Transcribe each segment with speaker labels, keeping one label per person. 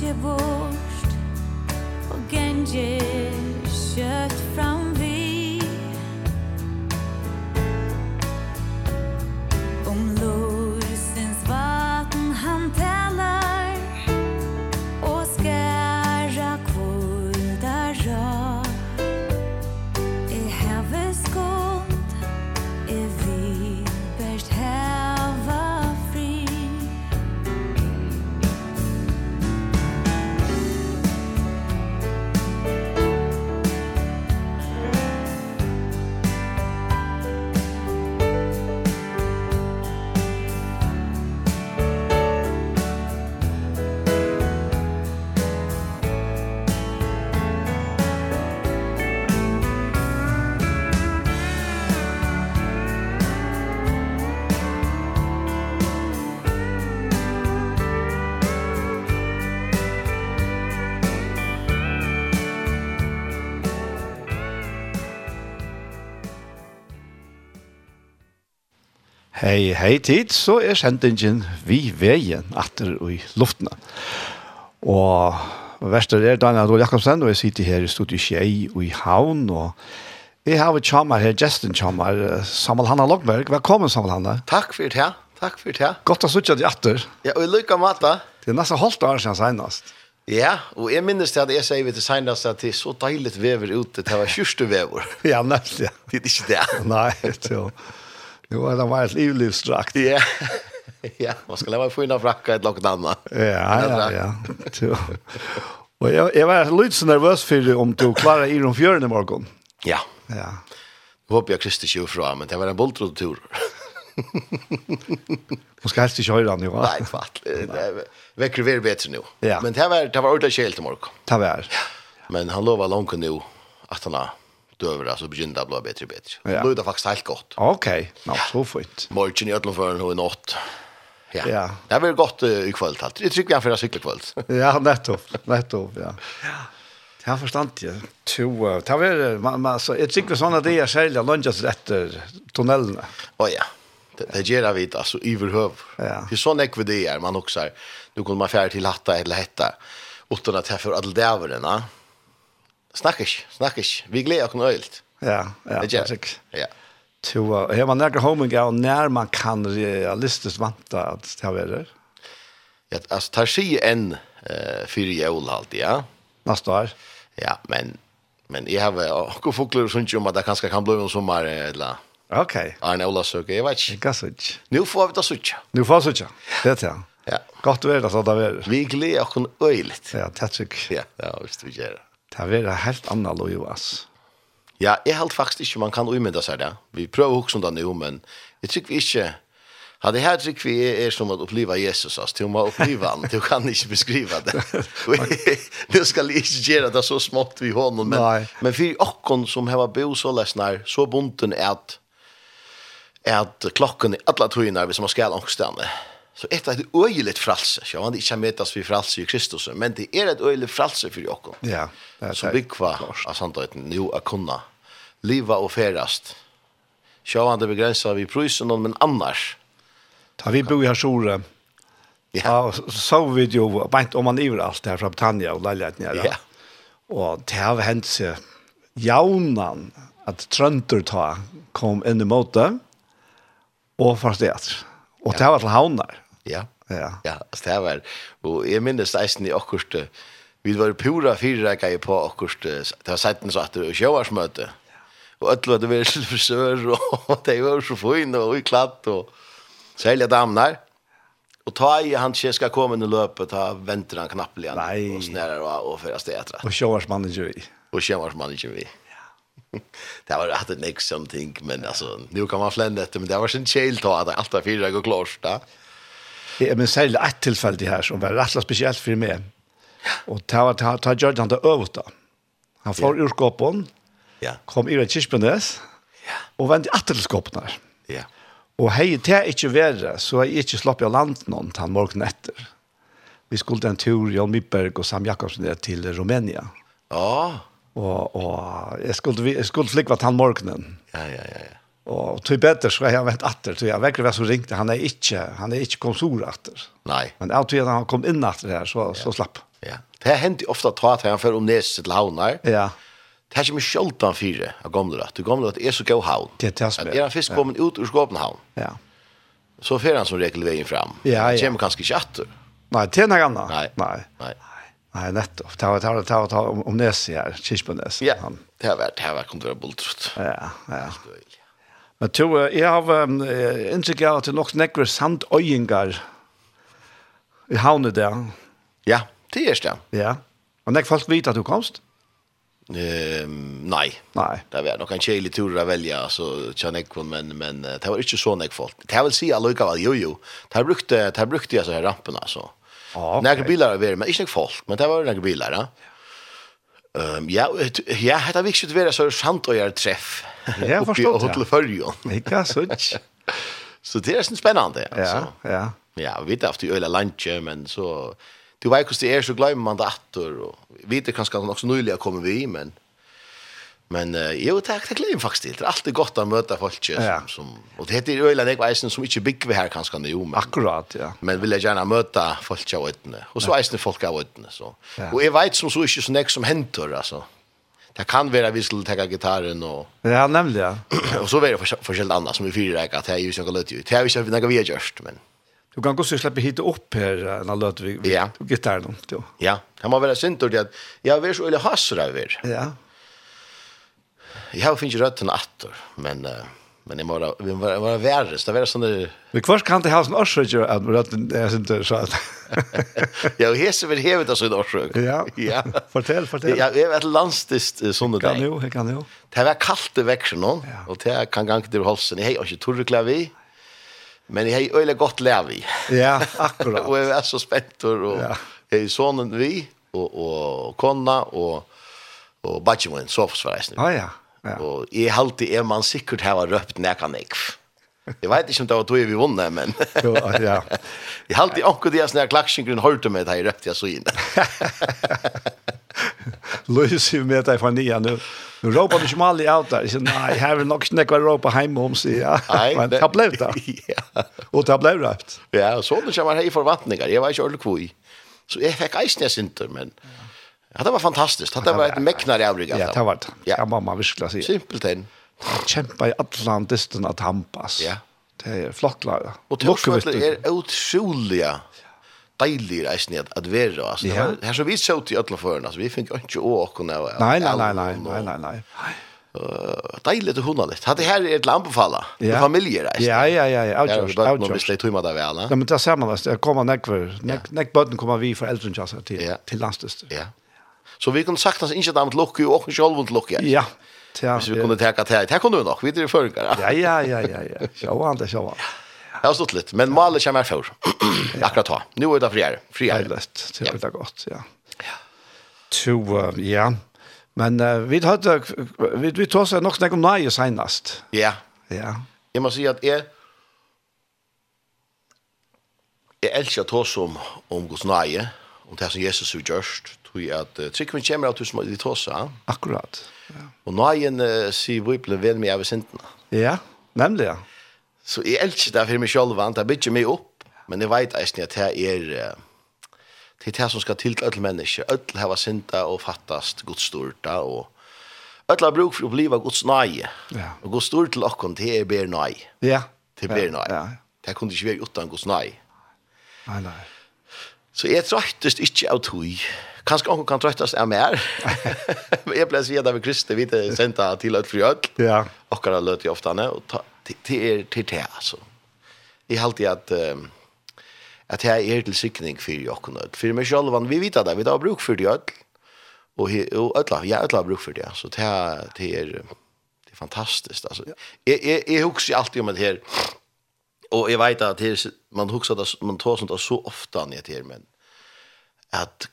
Speaker 1: gängeborst och gänge kött fram vi Om Lorsens vatten han tälar och skära kvulda rör I havets gott är vi bäst hava fri
Speaker 2: Hei, hei tid, så er sendingen vi veien atter i luftene. Og verster er Daniel Adol Jakobsen, og jeg sitter her i studiet Kjei og i Havn, og jeg har et kjammer her, Justin Kjammer, eh, Samuel Hanna Logberg. Velkommen, Samuel Hanna.
Speaker 3: Takk for det, takk for det.
Speaker 2: Godt å sitte deg atter.
Speaker 3: Ja, og i lykka mata.
Speaker 2: Det er nesten halvt år siden senest.
Speaker 3: Ja, og jeg minnes til at jeg sier vi til senest at det er så deilig vever ute, det var kjørste vever.
Speaker 2: Ja, nesten, ja.
Speaker 3: Det er ikke det.
Speaker 2: Nei, så. Jo, det var et livlivsdrakt.
Speaker 3: Ja, ja, man skal leve få inn av frakka et lokket annet.
Speaker 2: Ja, ja, ja. er Så. Og jeg, jeg var litt så nervøs for om du klarer i rom fjøren i morgen.
Speaker 3: Ja,
Speaker 2: Ja.
Speaker 3: nå håper jeg Kristi kjør fra, men det var en boltrod tur.
Speaker 2: Hon ska helst inte höra han, jo.
Speaker 3: Nei, kvart. Vekker vi er bedre nå.
Speaker 2: Ja.
Speaker 3: Men det var, det var ordentlig kjelt i morgen.
Speaker 2: Ta vær.
Speaker 3: Men han lovar langt nå at han har døver, altså begynner det å bli bedre og bedre.
Speaker 2: Ja.
Speaker 3: Nå er det faktisk helt godt.
Speaker 2: Okej, nå, så fint.
Speaker 3: Morgen i Øtlandføren og i natt. Ja.
Speaker 2: Ja.
Speaker 3: Det har vært godt eh, i kvöld. alt. Jeg trykker igjen for å sykle kvöld.
Speaker 2: Ja, nettopp, nettopp, ja. Det har forstand jeg. To, eh, ta vær, man, man, så, jeg tykker sånn at det er særlig av lunges etter tunnelene.
Speaker 3: Å ja. Det, det gjør jeg vidt, altså, iverhøv.
Speaker 2: Ja.
Speaker 3: Det er sånn ekve det er, man også er, nu kunne man fjerde til hatta eller hetta, utan at jeg for alle dæverene. Snakk ikke, snakk ikke. Vi gleder oss noe øyelt.
Speaker 2: Ja, ja,
Speaker 3: Det er gjør jeg.
Speaker 2: sikkert.
Speaker 3: Ja.
Speaker 2: To, eh, her man nærker homing av når man kan realistisk vanta at ta vær
Speaker 3: ja. Altså, tar sig en uh, fyra jævl alltid, ja.
Speaker 2: Nästa år.
Speaker 3: Ja, men, men jeg har akkurat fokler og sånt om at det kanskje kan bli noen sommer, eh, eller
Speaker 2: Okej.
Speaker 3: Arne Ola søker, jeg vet ikke.
Speaker 2: Ikke så ikke.
Speaker 3: Nu får vi ta sucha.
Speaker 2: Nu får så ikke. Det er det.
Speaker 3: Ja.
Speaker 2: Godt vær at det vær.
Speaker 3: Vi gleder oss øyligt.
Speaker 2: Ja, det er sikkert.
Speaker 3: Ja, ja, visst vi gjør det.
Speaker 2: Det vær helt annet lov, ass.
Speaker 3: Ja, jeg held faktisk ikke man kan umynda seg det. Vi prøver også om det nå, men jeg tykker vi ikke... Ja, det her tykker vi er, er som å oppleva Jesus, ass. Til å oppleva han, du kan ikke beskriva det. Og jeg- Nå skal jeg ikke gjøre det så smått vi hånden,
Speaker 2: Nei.
Speaker 3: men, men for okkon som har bo så lesnar, så bunten er at, er at klokken er alle tøyene hvis man skal angstene. Så et er et øyelig fralse. Jeg vet ikke om det vi fralse i Kristus, men det er et øyelig fralse for okkon
Speaker 2: Ja. det er
Speaker 3: så
Speaker 2: det.
Speaker 3: byggva av sannheten jo er kunna liva og ferast sjåvande begrensa vi prysen men annars
Speaker 2: Ta vi bor i Hasore. Ja, og så vi det jo bant om man iver alt her fra Britannia og leiligheten her.
Speaker 3: Ja.
Speaker 2: Og det har hendt seg jaunan at trønder ta kom inn i måte og fast det. Og det har vært til havnar.
Speaker 3: ja
Speaker 2: Ja.
Speaker 3: ja altså det var og jeg minnes eisen i akkurst eh, vi var pura fyrreika i på akkurst eh, det var seiten så at det var sjåvarsmøte og öll var det var til frisør og det var så fin og i klatt og særlig damnar og ta i han ikke skal komme inn i løpet ta venter han knappelig
Speaker 2: Nei.
Speaker 3: og snærer og, og ferast det etter
Speaker 2: Og sjåvarsmannen jo i.
Speaker 3: och tjänvarsmanager vi. Det var att det next something men alltså nu kan man flända det men det var sin chill då att allt var fyra går klart då.
Speaker 2: Jeg men særlig ett tilfelle her som var rettelig spesielt for meg. Og det var ta, ta Jordan til øvut da. Han får ur skåpen,
Speaker 3: Ja.
Speaker 2: kom i Kirchbenes, og vendte atter til skåpen her.
Speaker 3: Ja.
Speaker 2: Og hei, det er ikke verre, så har jeg ikke slapp av land noen til morgen etter. Vi skulle en tur, Jan Mipperg og Sam Jakobsen, ned til Rumænia.
Speaker 3: Ja.
Speaker 2: Og, og jeg skulle, vi- jeg skulle flikva til morgenen.
Speaker 3: Ja ja ja ja.
Speaker 2: Og til bedre så har jeg vært atter, så jeg vekker hva som ringte. Han er ikke, han er ikke konsor atter.
Speaker 3: Nej.
Speaker 2: Men av til at han kom inn atter her, så, så slapp.
Speaker 3: Ja. Det händer ofta att ta att han för om näs till um havnar. er
Speaker 2: Ja,
Speaker 3: Det är som en sjöldan fyra av gamla rätt. Du gamla rätt är så god havn.
Speaker 2: det er det som
Speaker 3: Att
Speaker 2: er.
Speaker 3: är han fisk kommer ut ur Skåpenhavn.
Speaker 2: Ja.
Speaker 3: Så fer han som regel vägen fram.
Speaker 2: Ja,
Speaker 3: Han
Speaker 2: ja.
Speaker 3: kommer kanske inte åter.
Speaker 2: Nei, det er noe annet.
Speaker 3: Nei.
Speaker 2: Nei.
Speaker 3: Nej.
Speaker 2: Nei, nettopp. Det var, det var, det var, det var om, om Nes her, Kirchbønes.
Speaker 3: Ja. Det har varit det har varit kommer vara bultrut.
Speaker 2: Ja, ja. Men to, eh, jeg har um, inntrykk av at det er nok nekker sandøyingar i havnet der.
Speaker 3: Ja, det är det.
Speaker 2: Ja. Og nekker folk vet at du komst?
Speaker 3: Ehm nej.
Speaker 2: Nei.
Speaker 3: Det var nog en chili tur att välja så tjänar jag kon men men eh, det var inte så näck folk. Det vill säga Luca väl jo jo. Det brukte det brukte jag så här rampen alltså.
Speaker 2: Ja, ok.
Speaker 3: Några bilar var det, er men inte folk, men det var några bilar, ja. Ehm ja, et- ja, det har viktigt att vara så sant och göra träff.
Speaker 2: Ja, forstått, ja.
Speaker 3: ja. Hotell Följon.
Speaker 2: Ikke sånn.
Speaker 3: Så det er är så spännande alltså.
Speaker 2: Ja, ja.
Speaker 3: Ja, vi vet att i öla lunch men så du vet hur det är så glömmer man det åter och vi vet kanske att också nyligen kommer vi men men uh, jo tack tack glömmer faktiskt till. det är alltid gott att möta folk som,
Speaker 2: Ja.
Speaker 3: som och det heter öla det är som inte big vi här kanske nu men
Speaker 2: Akkurat, ja.
Speaker 3: men vill jag gärna möta folk av ötne och så är det folk av ötne så
Speaker 2: Ja.
Speaker 3: och jag vet som så inte så näck som händer alltså det kan vara vi skulle ta gitarren och
Speaker 2: Ja, nemlig, ja.
Speaker 3: och så är det forskjellt annat som vi fyra att det är ju så gott ut det är ju så något vi har gjort men
Speaker 2: Du kan gå så släppa hit upp här eh, när Ludvig
Speaker 3: Ja.
Speaker 2: och gitarren. då.
Speaker 3: Ja, han må være synd til at jeg vil så øyelig hasser av er.
Speaker 2: Ja.
Speaker 3: Jeg har finnet røtten atter, men, eh, men jeg må være, vi må være verre, så det er sånn der,
Speaker 2: Men kvart kan det ha som örsöker att rötten är sånt där er så att
Speaker 3: ja, og hese vil hevet av sin årsøk.
Speaker 2: Ja.
Speaker 3: ja.
Speaker 2: Fortell, fortell.
Speaker 3: Ja, jeg vet landstist eh, sånne
Speaker 2: Kan
Speaker 3: dag.
Speaker 2: jo, jeg kan jo.
Speaker 3: Det var kaldt i veksjon nå,
Speaker 2: Ja.
Speaker 3: og det kan gange til holsen. Jeg har ikke torreklæv i, men jeg har øyelig godt læv i.
Speaker 2: Ja,
Speaker 3: og
Speaker 2: akkurat.
Speaker 3: jeg er så spent, og
Speaker 2: Ja.
Speaker 3: jeg er sånn vi, og, og kona, og, og badgemoen, sovsforreisende.
Speaker 2: Ja, ja. Ja.
Speaker 3: Og jeg halte er man sikkert hava røpt nekka nekv. Jeg vet ikke om det um var tog vi vunnet, men
Speaker 2: Jo, ja.
Speaker 3: jeg halte anker det jeg klaksjengren hørte med det jeg røpte jeg så inn.
Speaker 2: Lucy med dig från nya nu. Nu ropar du small i out där. Så nej, här vill nog knäcka ropa hem om um sig. Ja.
Speaker 3: Nei,
Speaker 2: Men det blev det.
Speaker 3: Ja.
Speaker 2: Och det blev rätt.
Speaker 3: Ja, og så det kommer hei forvattninger. Jeg var ikke ordentlig kvoi. Så jeg fikk eisen jeg synte, men ja, det var fantastisk. Det var et meknar i avrygg.
Speaker 2: Ja, det var det.
Speaker 3: Ja.
Speaker 2: Ja, mamma viskla sig.
Speaker 3: Simpelt enn.
Speaker 2: Kämpa i Atlantistan att hampas.
Speaker 3: Ja.
Speaker 2: Det är flottlar.
Speaker 3: Og Torsvøtler er utrolig deilig reisen at, at være. Altså, det
Speaker 2: Ja.
Speaker 3: var- er her så vi så til alle førene, altså, vi fikk ikke å åkne.
Speaker 2: Nej, nej, nej, nej, nej, nej, nej.
Speaker 3: Uh, deilig og hundaligt. Hatt det her er til å anbefale.
Speaker 2: Ja.
Speaker 3: Ja. Familiereis.
Speaker 2: Ja, ja, ja, ja.
Speaker 3: Ja,
Speaker 2: Outjust,
Speaker 3: det er hvis
Speaker 2: outjust.
Speaker 3: det tog meg det vel.
Speaker 2: Ja, men det är samma där. Jag kommer näkver. Näck näck button kommer vi för äldre chanser till
Speaker 3: Ja.
Speaker 2: till landstest.
Speaker 3: Ja. Så vi kunne sagt oss ikke er damt lukke, og ikke holdt lukke.
Speaker 2: Ja. Ja.
Speaker 3: er. Hvis vi kunne teka til her. Det kunne vi nok, vi er føringer. Ja.
Speaker 2: Ja, ja, ja, ja, ja. Sjå han, det sjå han.
Speaker 3: Det har stått litt, men malet kommer for. Akkurat ta. Nå er det friere. Friere.
Speaker 2: Deiligt, det är väldigt gott, ja. To, eh, ja. Men eh, vi hade, vi, vi tog sig nog snäck om nöje senast.
Speaker 3: Ja.
Speaker 2: um Ja.
Speaker 3: Jeg må si at jeg... Jeg elsker å ta oss om, om Guds nøye, om det som Jesus har gjort, tror jeg at uh, trykker vi kommer av tusen mål i tåsa,
Speaker 2: Akkurat.
Speaker 3: og nøyen uh, sier vi blir venn med av sintene.
Speaker 2: Ja, nämligen.
Speaker 3: Så jeg elsker det for meg selv, vant. det bygger meg opp, men jeg vet eisen at det er eh, det er det som skal til til alle mennesker. Alle har synda og fattast Guds storta, og alle har bruk for å oppleva Guds nøye.
Speaker 2: Ja.
Speaker 3: Og Guds stort til åkken, det er bedre nøye.
Speaker 2: Ja.
Speaker 3: Det er bedre nøye.
Speaker 2: Ja,
Speaker 3: Det kunne ikke være uten Guds nøye.
Speaker 2: nej, nej.
Speaker 3: Så jeg trøttest ikke av tog. Kanskje noen kan trøttast av mer. Men jeg pleier å si at det er Kristi, vi er sendt til alle fri ødel.
Speaker 2: Ja.
Speaker 3: Okkara løt i oftane, og ta, til, til er til det, altså. Jeg halte at, um, at jeg er til sikning for okkara nødt. For meg selv, vi vet det, er- vi har bruk for det ødel. Og, he, og ødla, jeg ødla har bruk for det, så det, er- det er, det er fantastisk, altså. Jeg, jeg, jeg husker alltid om det her, og jeg vet at det, er- man husker det, man tar sånt det så ofte an i det her, men at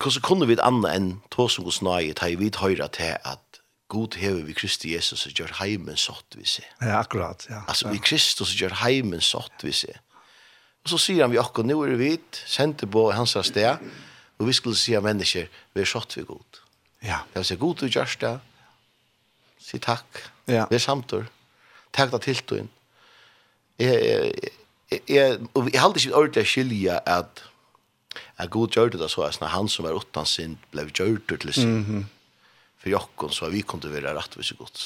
Speaker 3: hvordan kunne vi annet enn to som hos nøye, ta i vidt høyre til at God hever vi Kristi Jesus og gjør heimen sått vi seg.
Speaker 2: Ja, akkurat, ja.
Speaker 3: Altså, vi Kristus og gjør heimen sått vi seg. Og så sier han vi akkurat, nå er vi vidt, sendte på hans sted, og vi skulle si av mennesker, vi er sått vi god.
Speaker 2: Ja.
Speaker 3: Det vil si, god du gjørs det, si takk,
Speaker 2: Ja.
Speaker 3: vi er samtår, takk da til du inn. Jeg, jeg, jeg, jeg, og jeg, jeg, jeg, jeg, jeg, jeg, jeg, jeg, jeg, jeg, Jeg god gjør det da så, at han som var utan sin ble gjør det til sin. For jokken så vi kunne være rett hvis gods.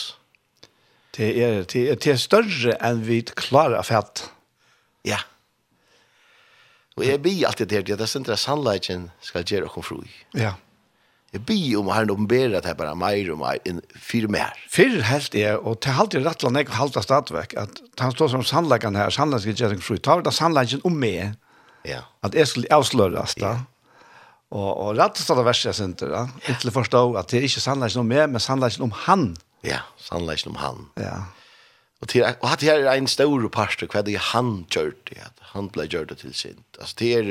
Speaker 2: Det er, det er, det er større enn vi klarer å fatte.
Speaker 3: Ja. Og jeg blir alltid det her, det er sånn at sannleggen skal gjøre dere fru.
Speaker 2: Ja.
Speaker 3: Jeg blir om um herren åpenberer at jeg bare mer og mer, enn fire mer.
Speaker 2: Fyrr helt er, og til halvt er rettelig jeg halta stadvekk, at han står som sannleggen her, er sannleggen gjør ikke fru, tar det sannleggen om um meg,
Speaker 3: Ja.
Speaker 2: at jeg skulle avsløres da. Og, og rett og slett av verset jeg synes da, inntil jeg forstår at det er ikke sannleggen om meg, men um sannleggen om han.
Speaker 3: Ja, um sannleggen om han.
Speaker 2: Ja,
Speaker 3: Og til, og at her er en stor parster, hva det er han gjør det, at han ble gjør det til sint. Altså, det er,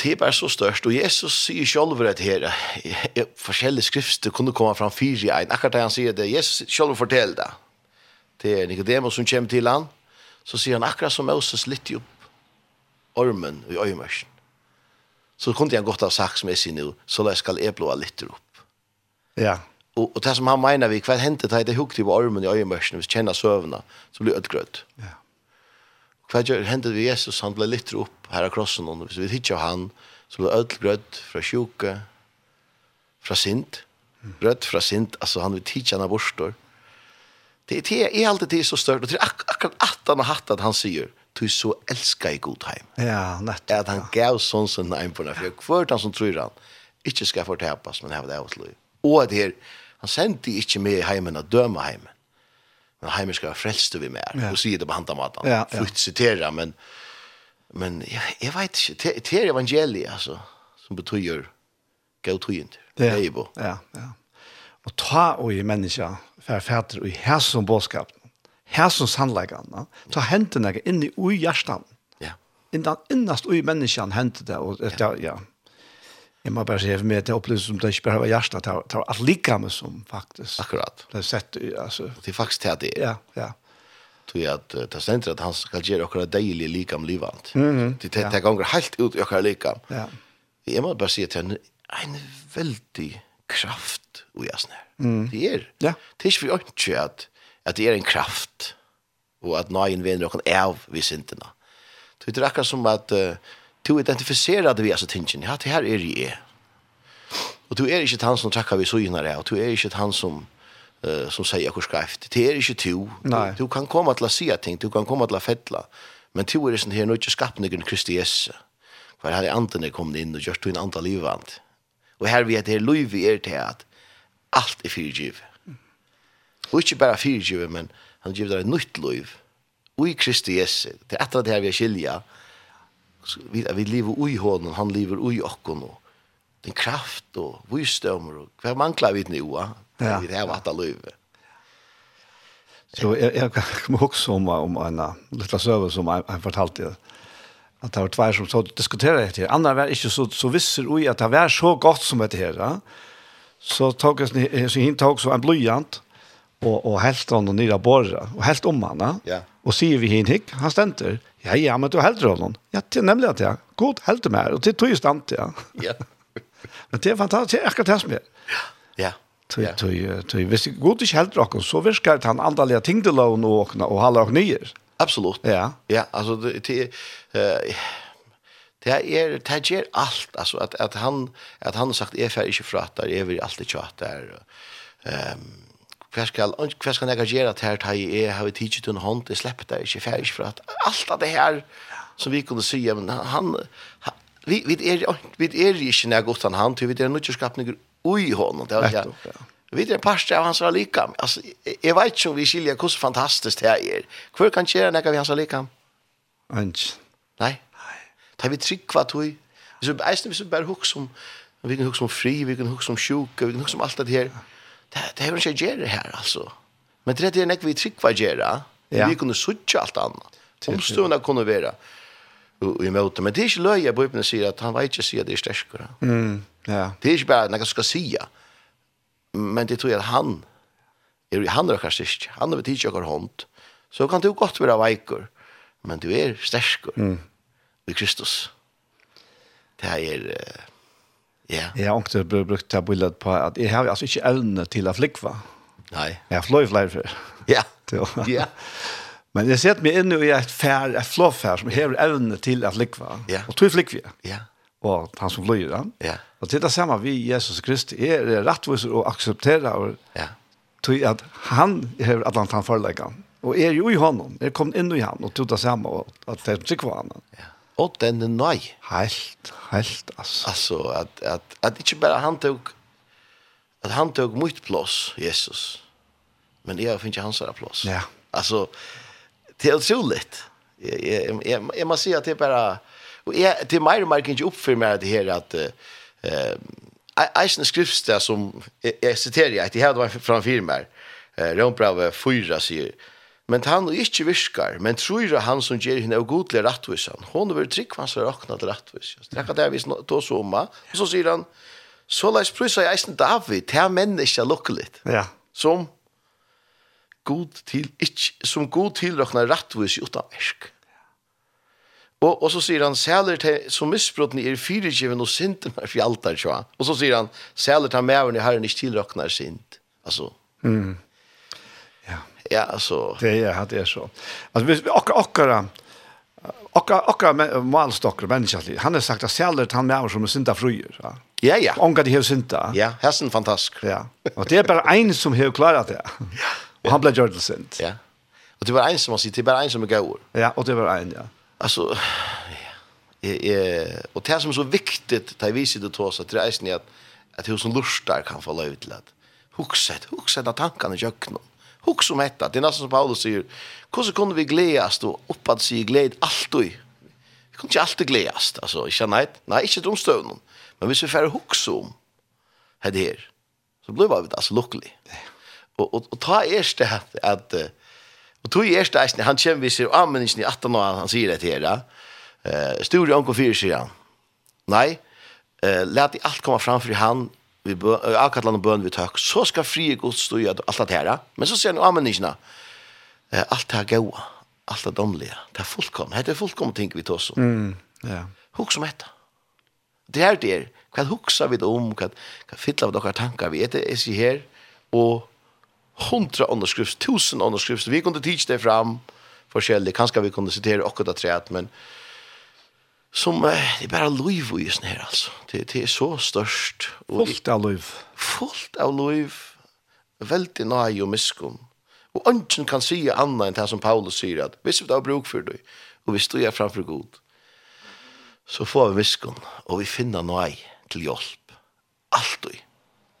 Speaker 3: det er bare så størst, og Jesus sier selv at her, eh, eh, forskjellige skrifter kunne komme fram fire i en, akkurat da han sier det, Jesus selv forteller det. Det er Nicodemus som kommer til han, så sier han akkurat som Moses litt opp ormen i øyemørsen. Så kunne han godt ha sagt som jeg sier nå, så la jeg skal jeg blåa litt opp
Speaker 2: ja,
Speaker 3: og, og det som han mener vi, hva hendte det heter hukt i armen i øyemørsen, hvis kjenner søvna, så blir ødgrødd.
Speaker 2: Ja.
Speaker 3: Hva gjør, hendte vi Jesus, han ble litt opp her av krossen, og hvis vi ikke av han, så blir ødgrødd fra sjuke, fra sint, rødt fra sint, altså han vil tidsja han av borstår. Det, det er alltid det er så størt, og det er ak akkurat at han har hatt at han sier, du så elsker i god heim
Speaker 2: ja,
Speaker 3: er at
Speaker 2: nettopp.
Speaker 3: han gav sånn sin navn på den, for hvert han som tror han, ikke skal fortapas, men hevde av et liv. Og at her, han sendte ikke med i heimen å døme heimen, men heimen skal være frelst vi med,
Speaker 2: Ja.
Speaker 3: og sier det på hand av maten.
Speaker 2: Ja, ja.
Speaker 3: Fullt sitera, men, men jeg, jeg vet ikke, det- det er evangeliet, altså, som betyr gav tøyent. Det er jo på.
Speaker 2: Ja, ja. Og ta og i menneska, for fæter, og i her som bådskap, her som sannleggene, ta hendene inn i ui hjertan,
Speaker 3: Ja.
Speaker 2: innan innast ui menneskan hendte det, og det, ja. ja. Jeg må bare si for meg er at det opplevdes som det ikke bare var hjertet, det var- det var alt like med som faktisk
Speaker 3: Akkurat.
Speaker 2: ble sett, i, altså,
Speaker 3: Det er faktisk det det er.
Speaker 2: ja, ja,
Speaker 3: Tog jeg at eh, det stender at han skal gjøre okkara deilig likam livant.
Speaker 2: Mhm.
Speaker 3: Det det- det ganger helt ut i okkara likam.
Speaker 2: ja,
Speaker 3: Jeg må bare si at han er en veldig kraft og jasne. Mm. Det er.
Speaker 2: Ja.
Speaker 3: Det er ikke for ikke at, at det er en kraft og at nøyen vinner noen av vi sintene. Det er akkurat som at eh, du identifiserer det vi altså tingene. Ja, det her er jeg. Og du er ikke han som takker vi så innan det, og du er ikke han som eh, som sier hvor skreft. Det er ikke to.
Speaker 2: Nei.
Speaker 3: Du, du kan komme til å si ting, du kan komme til å fettla, men to er sånn her, nå er ikke skapningen Kristi Jesu. Hver her i anden er kommet inn og gjørst du en andre livvand. Og her vi heter liv vi er til at alt er fyrgivet. Og ikke bare fyrgivet, men han giver deg et nytt liv. Ui Kristi Jesu. Det er etter det her vi er skilja. Så Vi, vi lever ui hånden, han lever ui okken. Og den kraft og vysdømmer. Og hva mangler vi nå? Ja?
Speaker 2: Ja.
Speaker 3: Vi har vært av livet.
Speaker 2: Så jeg, jeg kom også om, om en uh, lilla søve som jeg, jeg fortalte det. At det var tvær som så diskuterer det her. Andre var ikke så, så visser ui at det var så godt som det her. Ja. Så tok jeg sni- eh, så hin tok så en blyant og, og helt han og nira borra og helt om han.
Speaker 3: Ja.
Speaker 2: Og sier vi hin hikk, han stenter. Ja, ja, men du helter honom. Ja, til nemlig at jeg. God helter meg. Og til tog jeg stand, ja.
Speaker 3: Ja.
Speaker 2: Men det er fantastisk, det er akkurat det som er.
Speaker 3: Ja.
Speaker 2: Tøy, tøy, tøy. Hvis er god ikke helter oss, så virker det han andalige tingdelån og åkna og halde og nyer.
Speaker 3: Absolutt.
Speaker 2: Ja.
Speaker 3: Ja, altså det det eh, det er det gjør alt altså at at han at han har sagt er fer ikke fra der er vi alltid chat der. Ehm hva skal hva skal jeg gjøre at her tar jeg er har vi teacher til en hånd det slipper det ikke fer ikke fra at alt av det her som vi kunne si men han han- vi vi er vi er ikke nær godt han han til vi er nødt skapninger ui honom det var
Speaker 2: Nettopp, ja.
Speaker 3: ja. Vi er en parster av hans allikam. Altså, jeg, jeg vet ikke om vi skiljer hvordan fantastisk det er. Hvor kan gjøre noe vi hans allikam?
Speaker 2: Anj.
Speaker 3: Nei. Ta vi trygg hva tog. Hvis vi eisen, hvis vi bare hukks om, vi kan hukks om fri, vi kan hukks om sjuk, vi kan hukks om alt det her. Det, det er jo ikke gjerne her, altså. Men det er nek vi trygg hva gjerne.
Speaker 2: Ja.
Speaker 3: Vi kunne suttje alt annet. Omstående kunne være og- og i møte. Men det er ikke løy at Bibelen sier at han vet ikke sier at det er sterskere.
Speaker 2: Mm. Ja.
Speaker 3: Det er ikke bare nek han skal sige. Men det tror jeg at han, er, han er okkar styrst, han er tidsi okkar hånd. Så kan du godt være veikur, men du er sterskere i Kristus. Det er, eh, ja,
Speaker 2: Jeg har ikke brukt brukt det bildet på at jeg har altså ikke evne til å flikva.
Speaker 3: nei,
Speaker 2: Jeg har fløy flere før.
Speaker 3: ja,
Speaker 2: Til å-
Speaker 3: ja,
Speaker 2: Men jeg sett meg inne i et fær, et flåfær som hever evne til at likva.
Speaker 3: Ja.
Speaker 2: Og tog flikva.
Speaker 3: Ja.
Speaker 2: Og han som fløyer han.
Speaker 3: Ja.
Speaker 2: Og til det samme vi, Jesus Kristus, er rettviser og aksepterer og
Speaker 3: Ja.
Speaker 2: tog at han hever at han forelegger. Og er jo i honom, er kommet inn i han og tog det samme og at det er trygg for han.
Speaker 3: Ja. Og den er nøy.
Speaker 2: Helt, helt, altså.
Speaker 3: Alltså att att att inte bara han tog att han tog mycket plats Jesus. Men jag finns inte hans där plats.
Speaker 2: Ja.
Speaker 3: Alltså det är otroligt. Jag jag jag, jag måste säga att det är bara och jag det är mer marken inte upp för mig det här att eh Eisen skriftstad som jeg- jeg siterer at jeg hadde vært framfyr meg eh, Rombrave 4 sier men han og ikke virkar men tror han som gjør henne og godlig rettvisan hon vil trygg hans for rakna til rettvis det er ikke det vi snak- då så om um og så sier han så leis prysa i Eisen David det er menneska lukkeligt
Speaker 2: Ja,
Speaker 3: som god til ikke, som god tilrakna rettvis utan verk Og, og så sier han, sæler til, som misbrottene er fyrirgiven og synden er fjaltar, tja. Og så sier han, sæler til mævren i herren ikke tilraknar synd. Altså,
Speaker 2: ja.
Speaker 3: ja, altså,
Speaker 2: Det är det er är så. Alltså vi och och och och malstockar människor. Han har er sagt att säljer han med som synda fröjer. er Ja.
Speaker 3: ja, ja,
Speaker 2: Ongar det har synda.
Speaker 3: ja, hessen fantastisk.
Speaker 2: Ja. Och det är bara en som har klarat det. Och han blev gjord till synd.
Speaker 3: Ja. Og det var en som han sier, det var en som er gaur.
Speaker 2: Ja, och det var en ja.
Speaker 3: Alltså, ja, eh, och det som är så viktigt, det här viset det tar sig till reisen är att, att hur som lustar kan få löj till att huxa ett, huxa ett av tankarna i köknen. Huxa om detta. Det är nästan som Paulus säger, hur kunde vi glädjas då? Uppad sig gläd alltid. Vi kunde inte alltid glädjas. Alltså, inte nej, nej, inte de stövnen. Men hvis vi får huxa om det här, så blir vi alltså lyckliga. Och, och, och ta erst det att, att eh, Og er tog i erste eisen, han kjem vi sier, anmenningen i 18 år, han sier det til her, uh, Stor i onko 4, sier han. Nei, uh, let i alt komme fram for han, vi bø- eh, avkattlan og bøn vi tøk, så skal frie gods stå i at alt det her. Men så sier han anmenningen, uh, alt det her gaua, alt det domlige, det er fullkomne, det er fullkomne ting vi tås om.
Speaker 2: Mm. Ja.
Speaker 3: Hugs om dette. Det her det er, hva hugsa vi det om, hva, hva fylla vi dere tankar vi, det er sig her, og hundra underskrifts, tusen underskrifts, vi kunne teach det fram, forskjellig, kanskje vi kunne sitere akkurat av treet, men som, eh, det er bare loiv i sånn her, altså. Det, det er så størst. og-
Speaker 2: Fullt av liv.
Speaker 3: fullt av liv, veldig nøy og miskunn. Og ønsken kan si annet enn det som Paulus sier, at hvis vi har bruk for det, og vi står framfor god, så får vi miskunn, og vi finner nøy til hjelp. Alltid.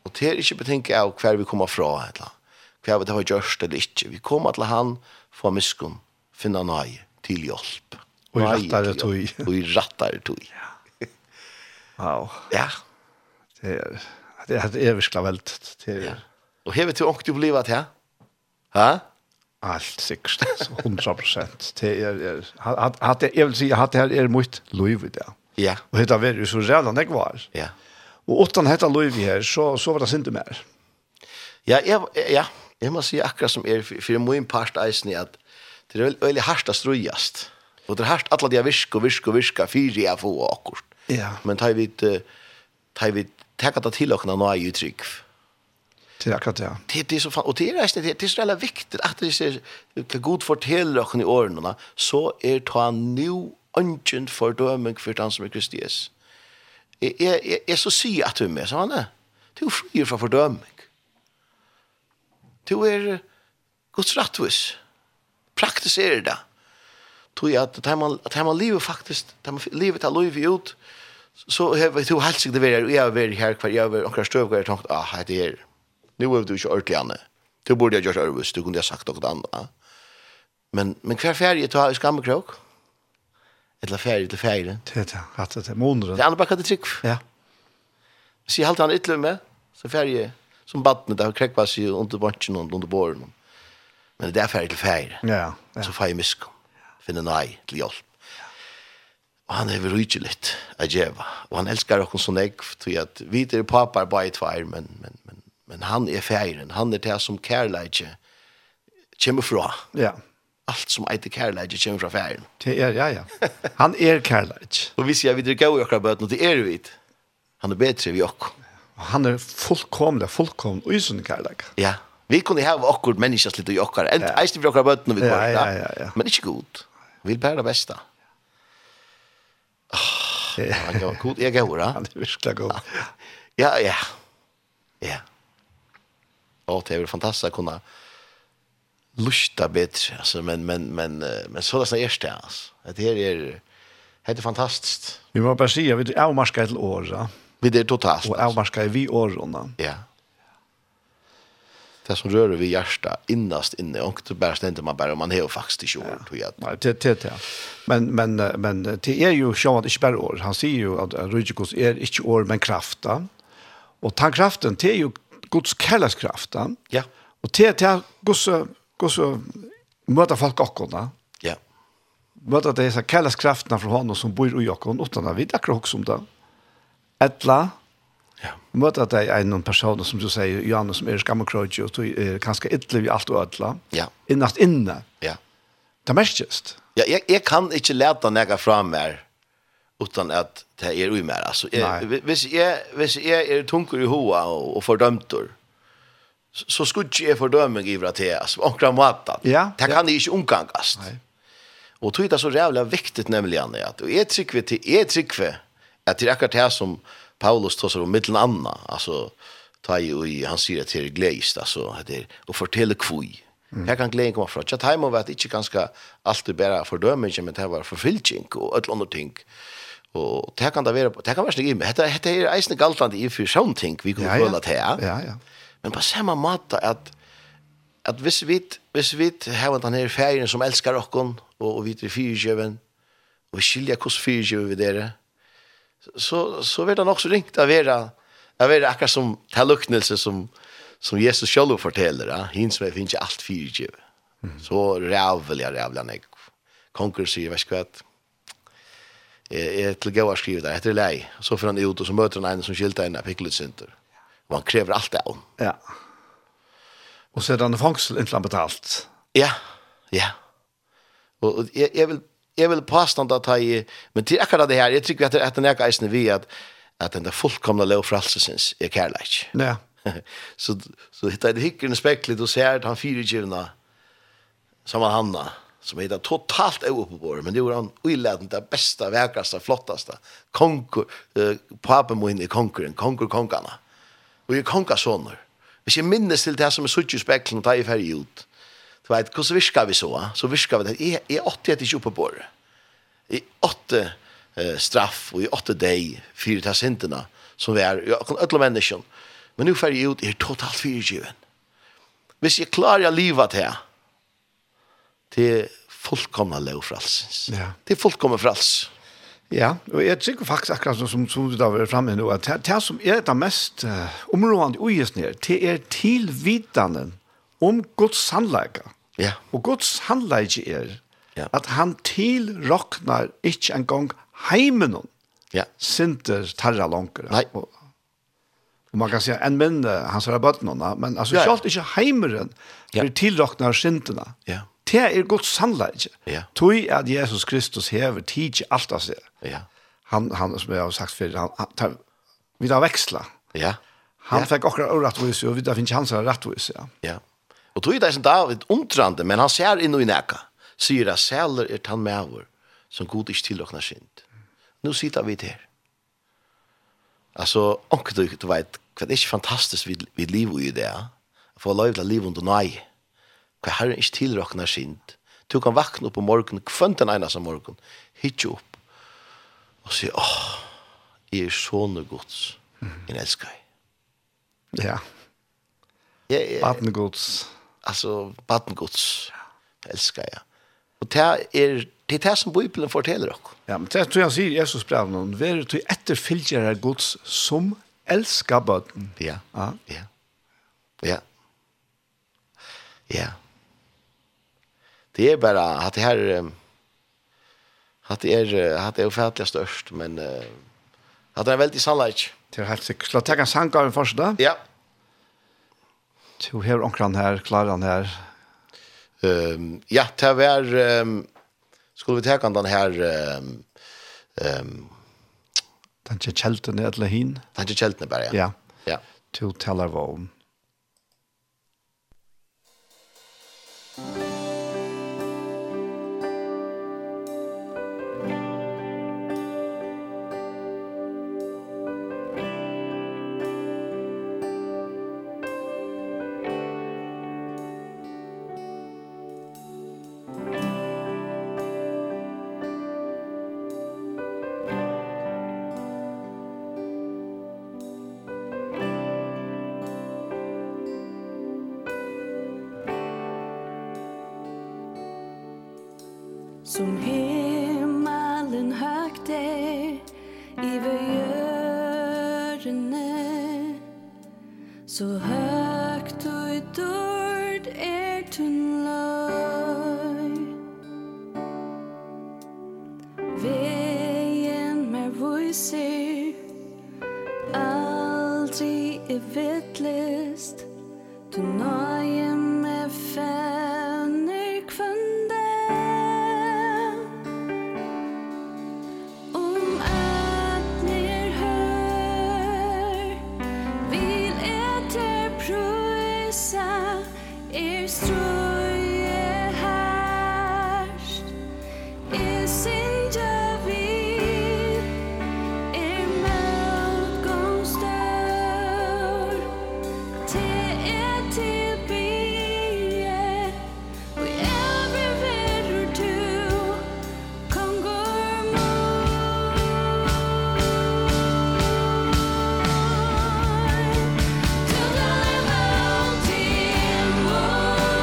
Speaker 3: Og det er ikke betinket av hver vi kommer fra, eller hver vi har gjort eller ikke. Vi kommer til han, får miskunn, finner nøy til hjelp.
Speaker 2: Og i
Speaker 3: Nøye til
Speaker 2: rattare
Speaker 3: hjelp.
Speaker 2: tøy.
Speaker 3: Og i rattere tøy.
Speaker 2: Wow.
Speaker 3: Ja.
Speaker 2: Det är det är det är verkligen väldigt det
Speaker 3: ja.
Speaker 2: är
Speaker 3: Og hever til ångte opplevet her? Hæ?
Speaker 2: allt säkert så 100%. Det er- är hade hade jag vill säga hade här är mycket liv er i det.
Speaker 3: Ja.
Speaker 2: Och det var ju så redan det var.
Speaker 3: Ja.
Speaker 2: Og åttan hetta Louis her, så, så var um det sinte mer.
Speaker 3: Ja, jeg, ja, jeg må si akkurat som er, for jeg må inn part eisen i at det er veldig hardt å strøyast. Og det er hardt alle de har virke og virke og virke, fire jeg får og akkurat.
Speaker 2: Ja.
Speaker 3: Men tar vi et, tar vi tar det til åkna nå er jo trygg.
Speaker 2: Til akkurat det.
Speaker 3: Det, det er så fan, og det er eisen, det, det er så veldig viktig at det er hva god forteller åkna i årene, så er ta nu ønsken fordøming for den som er Kristi Jesus. Jeg, jeg, jeg, jeg så sier at du med, sa han det. Du er fri fra fordøming. Du er eh, Guds rettvis. Praktiserer det. Tog jeg at tar man, tar man livet faktisk, tar man livet tar livet ut, så har vi to helst ikke det vært, og jeg har vært her hver, jeg har vært omkring støv, og jeg har tenkt, ah, hei, det er, nå er du ikke ordentlig, Anne. Du burde jeg gjort ærvis, du kunne jeg sagt noe annet. Men, men hver ferie tar jeg skammekrok? Eller ferie til ferie?
Speaker 2: Til det. er Hatt det til måneder.
Speaker 3: Det er andre bare hva det trygg.
Speaker 2: Ja.
Speaker 3: Så jeg halte han ytterligere med, så ferie som badne, det har krekva seg under bantjen og under båren. Men det er ferie til ferie,
Speaker 2: Ja. ja.
Speaker 3: så får jeg miskunn, finne nei um. til hjelp. Og han er rydde litt, av djeva. Og han elskar oss sånn jeg, tror jeg at vi er papar bare i tvær, men, men, men, men han er feiren, han er det som kærleidje kommer fra.
Speaker 2: Ja.
Speaker 3: Alt som eiter kærleidje kommer fra feiren.
Speaker 2: Det er, ja, ja. Han er kærleik.
Speaker 3: Og vi sier vi er gøy i okra bøten, og det er vi. Han er bedre vi okra.
Speaker 2: Og han er fullkomlig, fullkomlig og usunn kærleik.
Speaker 3: Ja, Vi kunne hava okkur menneskast litt i okkar, en eisne for okkar bøtten og vi
Speaker 2: Ja,
Speaker 3: går,
Speaker 2: ja, ja, ja.
Speaker 3: men ikke god. Vi vil bæra besta. Ah, han gav- god, jeg gav, da.
Speaker 2: Han er virkelig god.
Speaker 3: Ja, ja. Ja. Og det er vel fantastisk å kunne lusta bedre, altså, men, men, men, eh, men så det er det det, altså. Det her er, det er fantastisk.
Speaker 2: Vi må bare si at vi er avmarska til åra,
Speaker 3: Vi er totalt.
Speaker 2: og
Speaker 3: altså.
Speaker 2: avmarska er vi årene.
Speaker 3: Ja. Det som rører vi hjertet innast inne, og det bare stender man bare, og man har jo faktisk ikke ord, tror jeg.
Speaker 2: Nei, det det det. Men men eh, men eh, det är ju sjön att inte bara år. Han säger ju att Rudikos är inte år men krafta. Och den kraften det är ju Guds kärlekskraft.
Speaker 3: Ja,
Speaker 2: Och det det är Guds Guds eh, möta folk också.
Speaker 3: ja,
Speaker 2: Möta det så kärlekskrafterna från honom som bor i Jakob utan att vi tackar också om det. Ettla
Speaker 3: ja,
Speaker 2: möta det är någon person som du säger Johannes som är skamkroj och du är ganska illa i allt och alla.
Speaker 3: ja,
Speaker 2: Innast inne.
Speaker 3: ja.
Speaker 2: Det mestast.
Speaker 3: Ja, jeg, jeg kan ikke leta nega fra meg utan at det er ui mer. Altså,
Speaker 2: Nei.
Speaker 3: jeg, hvis, jeg, hvis jeg er tunker i hoa og, og fordømter, så, så skulle ikke jeg fordømme i at jeg, altså, omkring maten.
Speaker 2: Ja,
Speaker 3: Det
Speaker 2: ja.
Speaker 3: kan jeg ikke omgangast.
Speaker 2: Nei.
Speaker 3: Og er tog det så rævlig viktig nemlig, Anne, at og jeg trykker til, jeg trykker at det er akkurat det som Paulus tåser om mittelen anna, altså, ta i, og i- han sier at det er gleist, altså, at det er, og fortelle kvui. Her kan gleden komme fra. Tja, må være ikke ganske alltid bare fordømmelse, er men det var forfylking og et eller annet ting. Og det kan det være, det kan være slik i meg. Hette, hette er eisende galtland i for sånn ting vi kunne føle til.
Speaker 2: Ja, ja.
Speaker 3: Men på samme måte at at hvis vi hvis vi har den her ferien som elskar okkon og, og vi til fyrtjøven og vi skiljer hos fyrtjøven vi dere så, så vil det nok så ringt av vera av vera akkurat som til luknelse som, som Jesus selv forteller ja? hin som jeg finner ikke alt fyrtjøven så rævlig rævlig nek konger sier vet ikke hva jeg jeg er til gøy å skrive der etter lei så får han ut og så møter han en som skilte henne fikk litt synder og han krever alt det av henne
Speaker 2: Ja. Og så er den i fangsel inntil han betalt.
Speaker 3: Ja, ja. Og og jeg, jeg vil jeg vil påstå at jeg, men til akkurat det her, jeg tykker at det er noe eisen vi at, at den der fullkomne lov for alt synes er kærleik.
Speaker 2: Ja.
Speaker 3: så, så hittar jeg det hyggelig spekler, og ser at han fyrirgivna som han hanna, som hittar totalt av på bordet, men det gjorde han uiladen det bästa, verkaste, flottaste. Konkur, uh, papen må inn i konkuren, konkur konkana. Og jeg konka sånner. Hvis jeg minnes til det som er sutt i speklen, og tar jeg ferdig ut. Du vet, hvordan virker vi så? eh? Så virker vi det. Jeg, jeg åtte etter ikke oppe på bordet i åtte eh, straff og i åtte deg fyrir ta syndene som vi er, jeg kan ødele menneskene. Men nu fer jeg ut, jeg er totalt fyrtjøven. Hvis jeg klarer jeg livet til, til er fullkomna er lov fralsens.
Speaker 2: Ja.
Speaker 3: Til fullkomna frals.
Speaker 2: Ja, og jeg tykker faktisk akkurat som, som, som du da var fremme nå, at det, det som er det mest uh, områdende uges ned, det er tilvitanden om Guds sannleika.
Speaker 3: Ja.
Speaker 2: Og Guds sannleika er
Speaker 3: Ja.
Speaker 2: at han tilroknar ikke engang heimen hon
Speaker 3: Ja.
Speaker 2: sinter tarra langer.
Speaker 3: Nei.
Speaker 2: Og, og man kan si en minne, han sier bøtten henne, men altså,
Speaker 3: Ja, ja.
Speaker 2: selv ikke heimeren
Speaker 3: Ja.
Speaker 2: blir tilroknar sintene.
Speaker 3: Ja.
Speaker 2: Det er Guds sannleik.
Speaker 3: Ja.
Speaker 2: Tøy at Jesus Kristus hever tidsi alt av seg.
Speaker 3: Ja.
Speaker 2: Han, han som jeg har sagt før, han, han tar, vi tar veksla.
Speaker 3: Ja.
Speaker 2: Han
Speaker 3: Ja.
Speaker 2: fikk akkurat rettvis, og vi tar finnes hans rettvis, ja.
Speaker 3: Ja. Og tog i det som David omtrande, men han ser inn og i næka. Sier at sæler er tann med over, som god ikke tilåkna synd. Nå sitter vi der. Altså, onker du, du vet, hva det er ikke fantastisk vid, vid livet i det, ja? For lov til livet under nei. Hva herren ikke tilåkna synd. Du kan vakna opp om morgenen, kvønt den ene som morgen, hitje opp, og sier, åh, jeg er sånne gods, jeg elsker deg.
Speaker 2: Ja,
Speaker 3: Jeg, jeg,
Speaker 2: baden Guds.
Speaker 3: alltså vattengods älskar jag. Och det är det är det som Bibeln fortäller oss.
Speaker 2: Ja, men er det tror jeg han sier i Jesus brev noen, «Vær til etterfylgjere Guds som elsker bøtten».
Speaker 3: Ja.
Speaker 2: Ja.
Speaker 3: Ja. Ja. Ja. Det är bara att det här ehm, att det är eh, att det är ofärtligt störst men eh, att det är väldigt sannolikt.
Speaker 2: Det er helt sikkert. Skal jeg tenke en sanggaven først da?
Speaker 3: Ja.
Speaker 2: To her onkran her, klaran her.
Speaker 3: Ehm ja, det var ehm skulle vi ta kan den här ehm ehm
Speaker 2: Den ikke kjelten er til hin.
Speaker 3: tanke kjeltene bara.
Speaker 2: Ja.
Speaker 3: Ja.
Speaker 2: To teller vågen.
Speaker 1: Som himmelen högt är Iver jörne Så högt och i er dörd är tunnlöj Veien med vojser Aldrig är vettlist Du nøye med fæner kvønde Om ætner hør Vil etter prøysa Er strøye herst Er syndja vid Er motgångsdør Te er til bie, og evre verur du, kongur moi. Du daler vel til moi,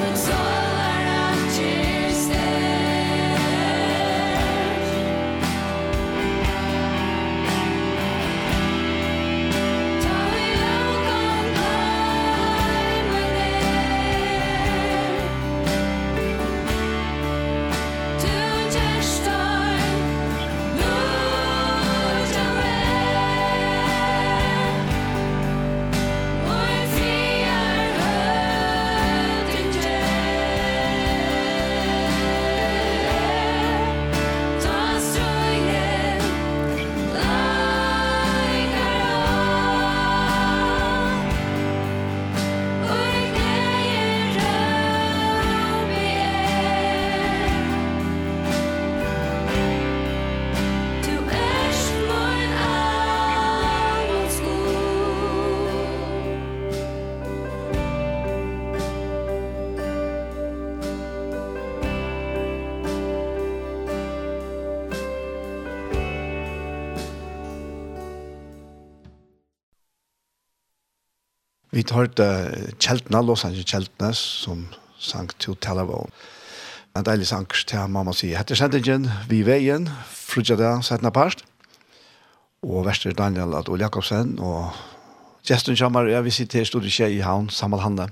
Speaker 1: men solar at kyrster. Ta vi lågan glömmer det Du gärstar Låga vän Mår friar hödingen Ta ströjen
Speaker 2: Vi tar ut uh, kjeltene, Los Angeles kjeltene, som sang til Talavon. En deilig sang til mamma er sier, hette sendingen, vi veien, frutja det, setna part. Og verste er Daniel Adol Jakobsen, og gesten kommer, ja, vi sitter her, stod i skje i havn, Samal Hanne.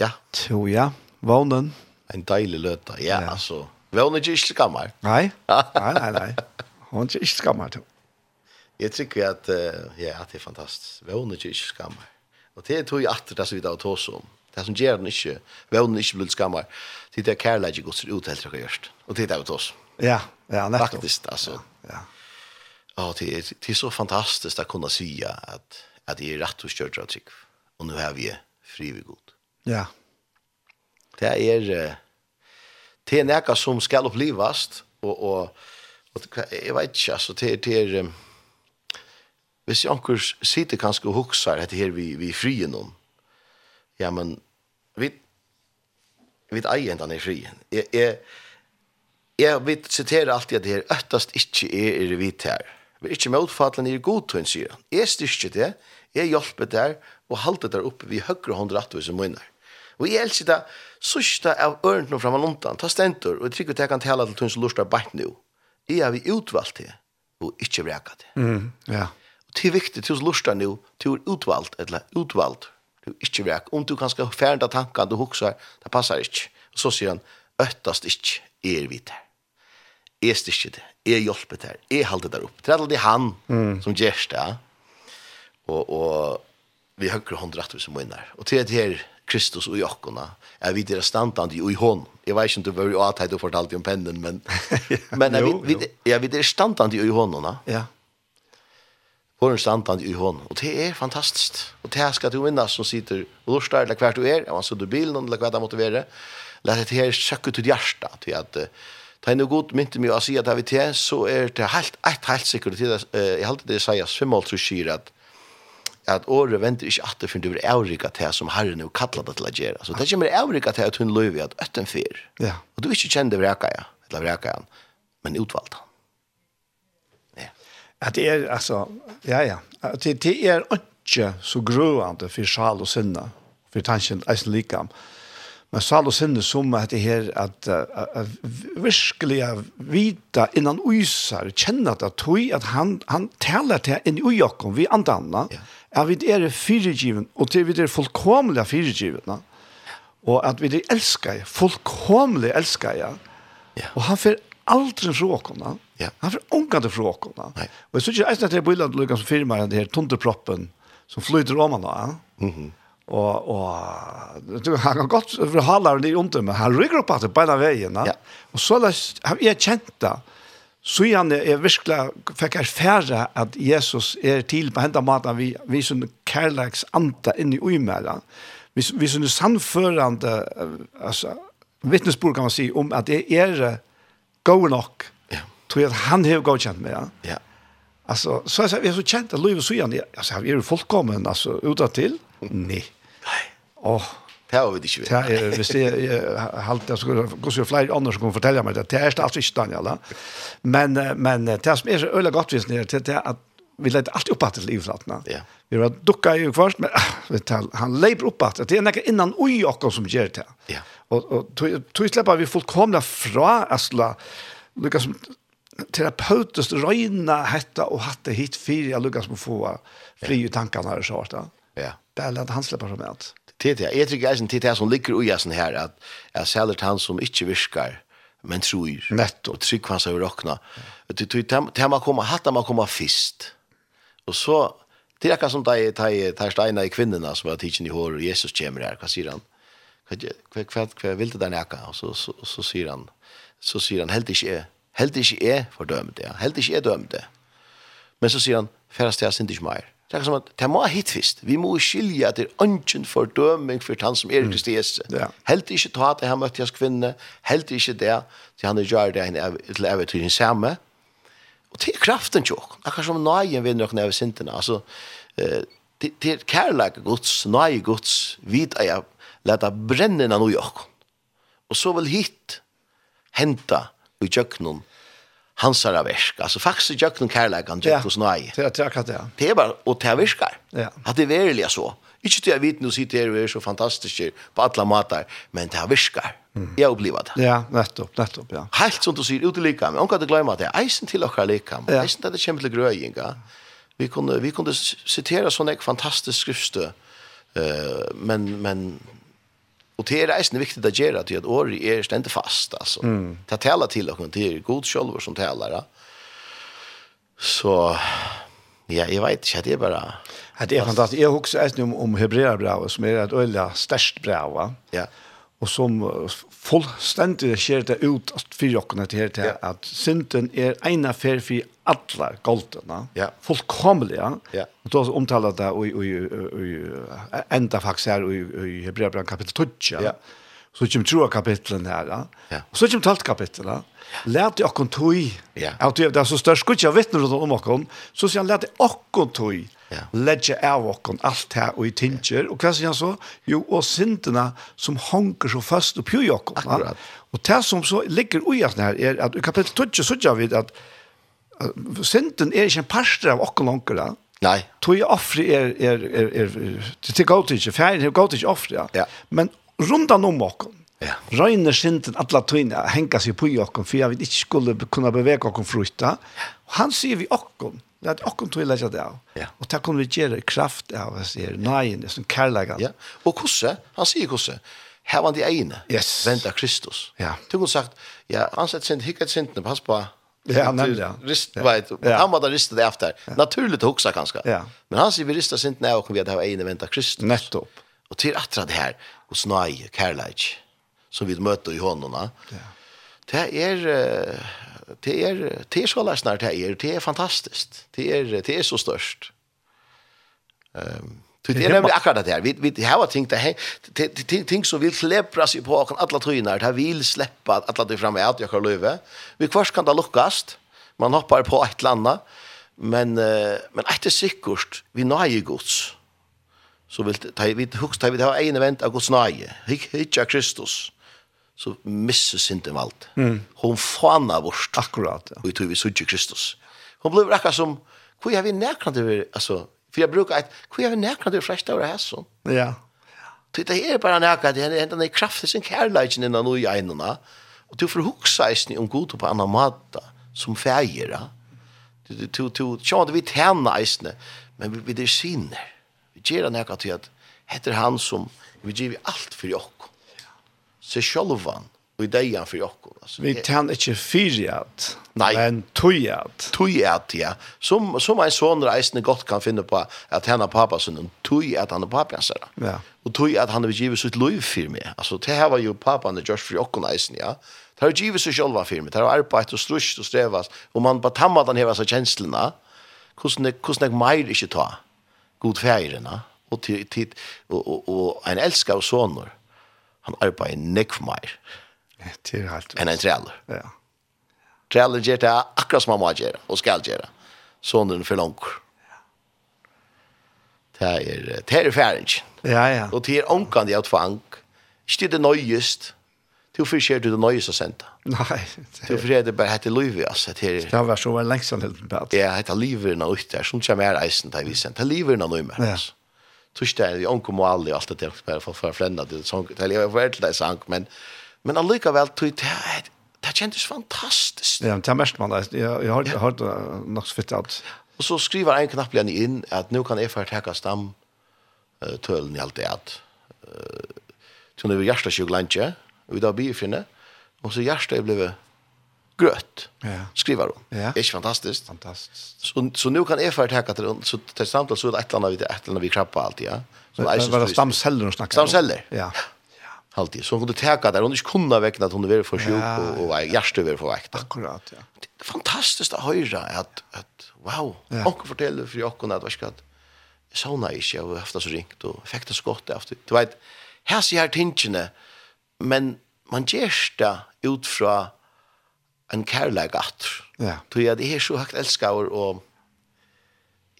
Speaker 3: Ja,
Speaker 2: Jo, ja, vånen.
Speaker 3: en deilig løta. Ja, altså. Vån er ikke ikke gammel.
Speaker 2: Nei, nei, nei, nei. Hun er ikke skammer til.
Speaker 3: Jeg tykker at, eh, ja, at det er fantastisk. Vån er ikke ikke gammel. Og det er tog at det som vi da tar oss om. Det som gjør den ikke, vån er ikke blitt gammel. Det er kærlighet går ut helt til å gjøre det. Og det er det vi tar oss.
Speaker 2: Ja, ja, nettopp.
Speaker 3: Faktisk, altså.
Speaker 2: Ja,
Speaker 3: Ja, det är det är så fantastiskt att kunna säga att att det är rätt och kört rätt sig. Och nu har vi frivilligt god.
Speaker 2: ja,
Speaker 3: Det är eh, det er är näka som ska upplevas och och och jag vet inte alltså det är det är eh, Hvis jeg anker sitter kanskje og hukser etter her vi, vi frie noen, ja, men vi, vi eier enda i frien. Jeg, jeg, jeg vil sitere alltid at det her øttast ikke er er vidt her. Vi er ikke motfattelen er god til, sier han. Jeg styrker det, jeg hjelper det og halter det oppe vi høyre hånd rett og som munner. Og jeg elsker det sørste av ørene fra Malontan, ta stentor, og jeg trykker til jeg kan tale til tunn som lurer bare nå. Jeg har vi utvalgt det, og ikke vreka det.
Speaker 2: mm, ja,
Speaker 3: Og det er viktig, til lurer nå, til er utvalgt, eller utvalgt, du ikke vrek. Om du kan skal fjerne tankene du husker, det passer ikke. Og så sier han, øttast ikke, er vi der. Jeg styrker det, jeg hjelper det, jeg halter det opp. Det er alltid han som gjør det. Og, og vi høkker hånd rett som vinner. Og til det her, Kristus og Jakona, er vi deres standande i hånd. Jeg vet ikke om du var i atheid og fortalte om pennen, men, men er vi,
Speaker 2: Jo,
Speaker 3: vi,
Speaker 2: jo.
Speaker 3: ja, vi deres standande i håndene
Speaker 2: ja,
Speaker 3: får en standand i hånden. Og det er fantastisk. Og det skal du vinna som sitter og lortar, eller hvert du er, om han sitter i bilen, eller hvert han måtte være. La det her søkke til hjärsta, til at eh, ta en god mynte mye å si at det vi til, så er det helt, helt, helt sikkert til det, eh, jeg halte det sier, svimmalt så sier at at året venter ikke at det finner du er avrika til som herren er kallet det til å gjøre. Så det kommer avrika til at hun løyver at øtten fyr.
Speaker 2: Ja.
Speaker 3: Og er du ikke kjenner vreka, ja, eller vreka, han, men utvalgt han. Ja.
Speaker 2: Ja, det er, altså, ja, ja. Det, det er ikke så grøvende for sjal og sinne, for tanken eisen likam. Men sal og sinne som at det her at, at, at virkelig at vita innan uisar, kjenne at det tog at han, han taler til inn i ujakken, vi andre andre,
Speaker 3: Ja.
Speaker 2: at vi er fyrirgiven, og til vi er fullkomlig fyrirgivna, og at vi er elskar, fullkomlig elskar, ja.
Speaker 3: Ja.
Speaker 2: og han fer aldri fra åkene,
Speaker 3: Ja.
Speaker 2: han fer ångande fra åkene,
Speaker 3: Nei.
Speaker 2: og jeg synes ikke eisen at det er bildet lukket som firmaer, det her tunderproppen, som flyter om han, ja. Og, og du, er han kan godt forhale det i under, men han rykker opp at det beina veien.
Speaker 3: Ja.
Speaker 2: Ja. Og så las- har jeg kjent det. Så han er virkelig fikk erfære at Jesus er til på hendet maten vi, vi som kærleks anta inn i uimæra. Vi, vi som sannførende eh, altså, vittnesbord kan man si om at det er eh, god nok.
Speaker 3: Ja.
Speaker 2: Tror jeg at han har godkjent meg. Ja.
Speaker 3: Ja.
Speaker 2: Alltså så så är så känt att Louis Sujan alltså är ju fullkommen alltså utåt till. Nej. Åh,
Speaker 3: Det har vi det ikke
Speaker 2: det
Speaker 3: ved.
Speaker 2: är visst det halt jag skulle gå så flyr annars kommer fortälja mig det. Det är alltså inte Daniel. va? Men eh, men eh, det som är så öle gott visst det det är att vi lät allt upp att livet att
Speaker 3: Ja.
Speaker 2: Vi var ducka ju först men ah, vet du, han lever upp att det är något innan oj och som gör det.
Speaker 3: Ja.
Speaker 2: Och och tog- tog släppa vi fullkomna fra asla Lukas terapeutiskt röjna hetta och hatta hit fyra Lukas må få fri i tankarna här så att
Speaker 3: Ja.
Speaker 2: det är att han släpper som ett.
Speaker 3: Det det. Jeg er tror eisen til det som ligger ui jasen her, at jeg selger til han som ikke virkar, men tror.
Speaker 2: Nettopp.
Speaker 3: Og trygg hans over åkna. Det det man kommer, hatt man kommer fyrst. Og så, det er akkurat som de tar steina i kvinnerna som var tidsen i hår, og Jesus kommer her, hva sier han? Hva, hva, hva, hva vil det der nækka? Og så, så, så sier han, så sier han, helt ikke er, helt ikke er fordømt, ja. Helt ikke er dømt, ja. Men så sier han, færre steg synd ikke mer. Det er som at, det må ha hit fyrst. Vi må skilja at det er ønsken fordøming for han som er i Kristi Jesu.
Speaker 2: Ja.
Speaker 3: Helt ikke ta at han møtte hans kvinne, helt ikke det, til han gjør det henne ev- til evig til henne samme. Og er til kraften tjokk, akkurat som nøyen vinner oss neve sintene, altså, eh, til- til kærleik gods, nøye gods, vid at jeg leta brennina noe jokk. Og så vil hit henta i tjøkkenen hansara versk, altså faktisk i tjøkkenen kærleik han tjøkken hos nøye
Speaker 2: Det är det är akkurat det.
Speaker 3: det er bare, og det virkar.
Speaker 2: Ja.
Speaker 3: At det er verilig så. Ikke til jeg vet nå sitter her og er så fantastisk på alle måter, men det virkar. Jeg opplever det.
Speaker 2: Ja, nettopp, nettopp, ja.
Speaker 3: Helt som du sier, ute likam. Om kan du glemme at det er eisen til dere likam.
Speaker 2: Ja.
Speaker 3: Eisen til det kommer til grøyinga. Vi kunne, vi kunne s- sitere sånne ek fantastisk skriftstø. eh, men, men, og det er eisen viktig å gjøre til at året er stendt fast. Altså. Mm. Det taler til dere, det er god sjølver som taler. ja. Så, ja, jeg vet ikke, det er bare...
Speaker 2: Det är fantastiskt. Jag huxar ett om om hebreerbrevet som är ett öliga störst brev va.
Speaker 3: Ja.
Speaker 2: Og som eh, fullstendig skjer det ut at for jokkene til her til
Speaker 3: Ja.
Speaker 2: at synden er en affær for alle goltene.
Speaker 3: Ja.
Speaker 2: Fullkomlig, ja.
Speaker 3: Ja.
Speaker 2: Og da omtaler det i, i, i, i, enda faktisk her i, i Hebreabran kapittel 12.
Speaker 3: Ja.
Speaker 2: Så kommer troa kapitlen her, ja.
Speaker 3: Ja.
Speaker 2: Og så kommer talt kapitlet, ja. Lært i okkon tøy,
Speaker 3: Ja.
Speaker 2: at det er så størst, skulle ikke jeg vittne rundt om okkon, så sier han lært i okkon tøy,
Speaker 3: Ja.
Speaker 2: Ledje av okkon alt her og i tinger. Og hva sier han så? Jo, og syndene som honker så fast og pjøy okkon. va?
Speaker 3: Akkurat.
Speaker 2: Og det som så ligger ui at her er at i kapittel 12 så gjør vi at at synden er ikke en parster av okkon honker da.
Speaker 3: Nei.
Speaker 2: Tog jeg offre er, er, er, er, er til galt ikke, ferien er galt ikke offre, ja.
Speaker 3: Ja.
Speaker 2: Men rundan om okkon,
Speaker 3: Ja.
Speaker 2: Røyner synden alla tøyna henga seg på i okkon, for jeg vet ikke skulle kunna bevega okkon fruta. Og han sier vi okkon, det er okkon tøy leggja det av.
Speaker 3: Ja.
Speaker 2: Og det kommer vi gjøre i kraft av, jeg sier, nøyen, det er sånn kærlegan.
Speaker 3: Ja. Og kosse, han sier kosse, her var de egne,
Speaker 2: Yes.
Speaker 3: venta Kristus.
Speaker 2: Ja.
Speaker 3: Du kunne sagt, ja, han sett sint, hikket sintene, pass på,
Speaker 2: Ja, nemlig, ja.
Speaker 3: Rist,
Speaker 2: Ja.
Speaker 3: Vet,
Speaker 2: Ja.
Speaker 3: Han måtte rista det efter. Naturligt hoksa kanskje.
Speaker 2: Ja.
Speaker 3: Men han sier vi rista sintene av, og vi hadde egne venta Kristus.
Speaker 2: Nettopp.
Speaker 3: Og til atra det her, hos nøye, kærleik, som vi møter i håndene,
Speaker 2: Ja.
Speaker 3: det er, eh, det er, det er så lærsnar det er, det er fantastisk. Det er, det er så størst. Det
Speaker 2: Det
Speaker 3: det
Speaker 2: er
Speaker 3: er nemlig
Speaker 2: bara-
Speaker 3: akkurat det her. Vi, vi har ting, det, her- det, det- ting, ting som vil klepra seg på okken alle tøyene. Det her vil slippe at alle tøyene fremme at jeg kan løyve. Vi kvart kan det lukkast. Man hoppar på et eller annet. Men, eh, men etter sikkert, vi nøye gods. Så vil det, ta- vi husker, vi har en event av gods nøye. Hitja Kristus. Så misser synden alt. Hon faner vårt
Speaker 2: Akkurat, ja.
Speaker 3: og vi tror vi sutje Kristus. Hon blev akkurat som, hvor jeg vil nærkant over, altså, for jeg brukar et, hvor jeg vil nærkant over fresta over hæsson.
Speaker 2: Ja.
Speaker 3: Ty det er bara näka det är ända den kraften sin kärleken innan och i einarna. Och du får huxa i sni om god på annan matta som färgera. Du du du du tjänar vi tärna i sni men vi vi det sinner. Vi ger näka till att heter han som vi ger vi allt för jag. Se självan och i dejan för jag. Alltså
Speaker 2: Vi kan ikke fyriat,
Speaker 3: Nei.
Speaker 2: men tøyat.
Speaker 3: tui at ja som som ein son reisende godt kan finne på at han har pappa sin tui at han er pappa hans
Speaker 2: Ja.
Speaker 3: og tui at han vil give sitt liv for meg altså det her var jo pappa og Josh for jokken reisen ja det har givet seg selv for meg det har arbeidt og strusht og strevast og man bare tammet han hever seg kjenslene hvordan jeg- hvordan jeg meir ikke ta god feirene og, til, til, og, og, og en elsker av soner han arbeider nekv meir
Speaker 2: Til helt.
Speaker 3: enn en trealer
Speaker 2: Ja.
Speaker 3: Trellen gjør det akkurat som han må gjøre, og skal gjøre. Sonen for langt. Det er, det er færingen.
Speaker 2: Ja, ja.
Speaker 3: Og det er omkant i tvang. Ikke det nøyest. Du får ikke det nøyest å sende.
Speaker 2: Nei,
Speaker 3: Du
Speaker 2: det
Speaker 3: får det bare hette livet, altså. Det er,
Speaker 2: har vært så veldig lengst en liten bad.
Speaker 3: det er hette livet nå ute der, som kommer her eisen til vi sender. Det er livet nå nøymer,
Speaker 2: Ja.
Speaker 3: altså. Torsdag, vi omkom og er alle, alt det der, bare for for å flende det, sånn, det er jo vært til det sang, men, men allikevel, det, det, det kjentes fantastisk.
Speaker 2: Ja, men det er mest man, jeg, jeg har jeg har hørt det nok så fitt at,
Speaker 3: Og så skriver en knapp igjen inn at nå kan jeg få takke stam eh, tølen i alt det at. eh, Så nå er vi hjertet sjuk landje, og i dag blir finne, og så hjertet er blevet grøt,
Speaker 2: Ja.
Speaker 3: skriver hun.
Speaker 2: Ja.
Speaker 3: Er Ikke fantastisk.
Speaker 2: fantastisk.
Speaker 3: Så, så nå kan jeg få takke til henne, så til samtale så er det et eller annet vi, et eller annet vi krabber alltid, ja. Så
Speaker 2: Det
Speaker 3: er
Speaker 2: var det stamceller hun snakket om.
Speaker 3: Stamceller?
Speaker 2: Ja.
Speaker 3: Alltid. Så hun kunne takke der, hun ikke kunne vekkene at hun er for sjuk,
Speaker 2: Ja,
Speaker 3: og, og hjertet er for vekt.
Speaker 2: Akkurat, ja.
Speaker 3: Det er fantastiskt att höra att att wow,
Speaker 2: Ja.
Speaker 3: ja. onkel fortäller för jag kunde att vad ska att sauna is jag har haft det så ringt och fick det så gott efter. Du vet, här ser jag tingene men man gesta ut från en kärlek att.
Speaker 2: Ja.
Speaker 3: Du är det är så högt älskar och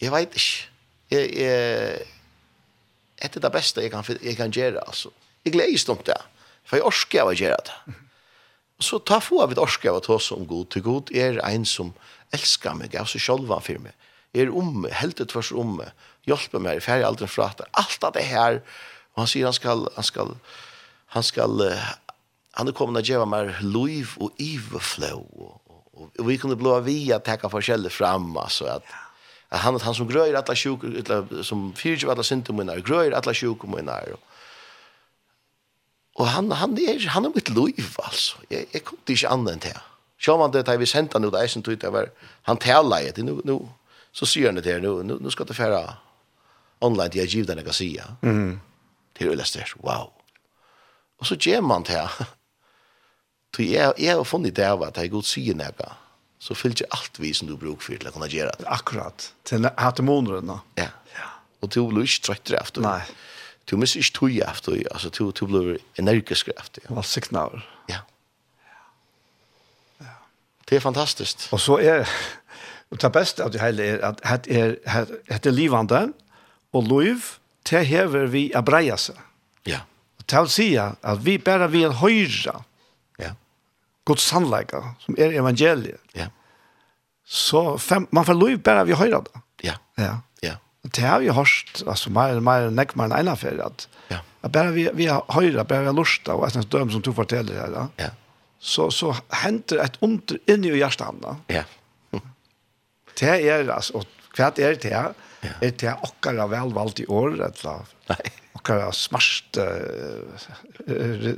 Speaker 3: jag vet inte. Jag är ett det bästa jag kan jag kan göra alltså. Jag gläds om det. För jag orkar vad göra det. Og så ta få av et orske av å ta oss om god. Til god er en som elsker meg, av seg selv for meg. Er om meg, helt ut først om meg. Hjelper meg, er ferdig aldri fra det. Alt av det her. Og han sier han skal, han skal, han skal, eh, han er kommet og gjøre meg liv og iverflå. Og, og, og, og vi kunne blå vi at takke forskjellig fram, altså at, at han, han som grøyer alle sjuk, som fyrer alle syndemøyner, grøyer alle sjukemøyner, og Og han, han, er, han er mitt liv, altså. Jeg, jeg kom til ikke annet enn det. Sjå man det, da vi sendte han ut, jeg som tog det var, han tala i det, nu, nu, så sier han det her, nu, nu, nu skal det fære online til jeg giv den jeg kan sige. Mm. Til øyla styrs, wow. Og så gjør man det. Så jeg, jeg har funnet det av at jeg godt sier noe, så fyller ikke alt vi som du bruker for til å kunne gjøre det.
Speaker 2: Akkurat. Til hatemoneren, da.
Speaker 3: Ja. Og du blir ikke trøttere efter.
Speaker 2: Nei.
Speaker 3: Du mister ikke tog efter, altså du, du blir energisk efter.
Speaker 2: Det var sikten av.
Speaker 3: Ja. Det er fantastiskt.
Speaker 2: Og så er, og det beste av det hele er at het er, het, het er livande, og liv, det hever vi a breia seg.
Speaker 3: Ja.
Speaker 2: Og det vil si at vi bare vil høyre
Speaker 3: Ja.
Speaker 2: Guds sannleika, som er evangeliet,
Speaker 3: Ja.
Speaker 2: så fem, man får liv bare vi høyre det.
Speaker 3: Ja.
Speaker 2: Ja.
Speaker 3: Ja.
Speaker 2: Det har vi hørt, altså, mer, mer nekk mer enn ene affære, at,
Speaker 3: Ja.
Speaker 2: at bare vi, vi høyre, bare vi har lyst til, og jeg døm som du forteller her, da,
Speaker 3: Ja.
Speaker 2: så, så henter et under inni i hjertet han, da.
Speaker 3: Ja.
Speaker 2: Det er, altså, og hva er det? Er det okkara velvalgt i år, eller
Speaker 3: Nei.
Speaker 2: okkara smart uh,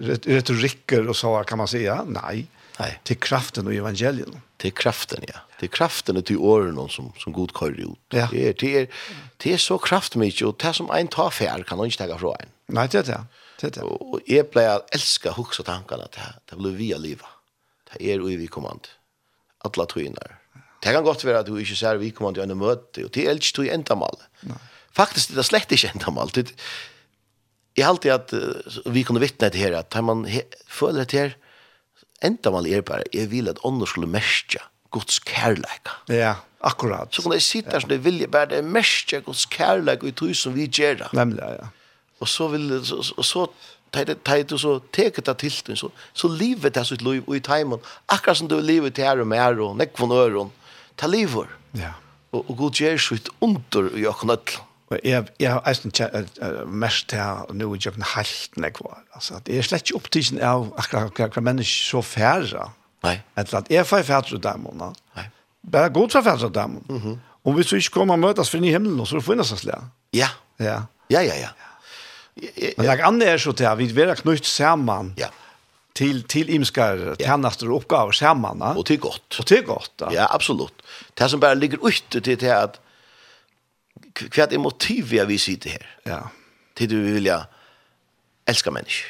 Speaker 2: retorikker og så, kan man si, ja? Nei.
Speaker 3: Nei.
Speaker 2: Til kraften og evangeliet.
Speaker 3: Det er kraften, ja. Det er kraften og til årene som, som god kører ut.
Speaker 2: Ja.
Speaker 3: Det, er, det, er, det er så kraftmykje, og det er som en tar fær kan han ikke ta fra en.
Speaker 2: Nei, det er det. Det er det.
Speaker 3: Og, og jeg pleier å elske hukse tankene at det, det blir vi av livet. Det er jo vi kommand. Alla tøyner. Det kan godt være at du ikke ser vi kommand i en møte, og det er ikke tøy endamal. Faktisk det er slett ikke endamal. Det, jeg har alltid at eh, vi kunne vittne det her, at tar man he, føler det her, endamal er bare, jeg vil at ånden skulle merke Guds kærleika.
Speaker 2: Ja, akkurat.
Speaker 3: Så kunne jeg sitte her som det vilje, bare det er merke Guds kærleika i tøy som vi gjør det.
Speaker 2: Nemlig, ja.
Speaker 3: Og så vil så, så- så teit du så teket av tilten, så, så livet er sitt liv og i teimen, akkurat som du livet til her og med her og nekvån øren, ta livet.
Speaker 2: Ja,
Speaker 3: Og, og god gjør sitt under i åkken ødlen.
Speaker 2: Og jeg, jeg har eisen tje- eh, eh, mest her, og nå er jeg ikke helt nekva. Altså, det er slett ikke opptidsen av akkurat hva- hva mennesker så færre.
Speaker 3: Nei.
Speaker 2: Etter at jeg får færre dem, og
Speaker 3: Nei. Mhm.
Speaker 2: bare god for færre dem. Og hvis vi ikke kommer og møtes for inn i himmelen, så får vi nesten slik.
Speaker 3: Ja.
Speaker 2: er Ja.
Speaker 3: Ja, ja, ja. Ja,
Speaker 2: Men
Speaker 3: ja,
Speaker 2: det andre er så til at vi er knytt sammen
Speaker 3: ja.
Speaker 2: til, til imskar tjenester og oppgaver sammen. ja.
Speaker 3: Og til godt.
Speaker 2: Og det er godt. da.
Speaker 3: Ja, absolutt. Det som bare ligger ute til det at k- hva er motivet jeg vil si det her?
Speaker 2: Ja.
Speaker 3: Til du vil ja elska mennesker.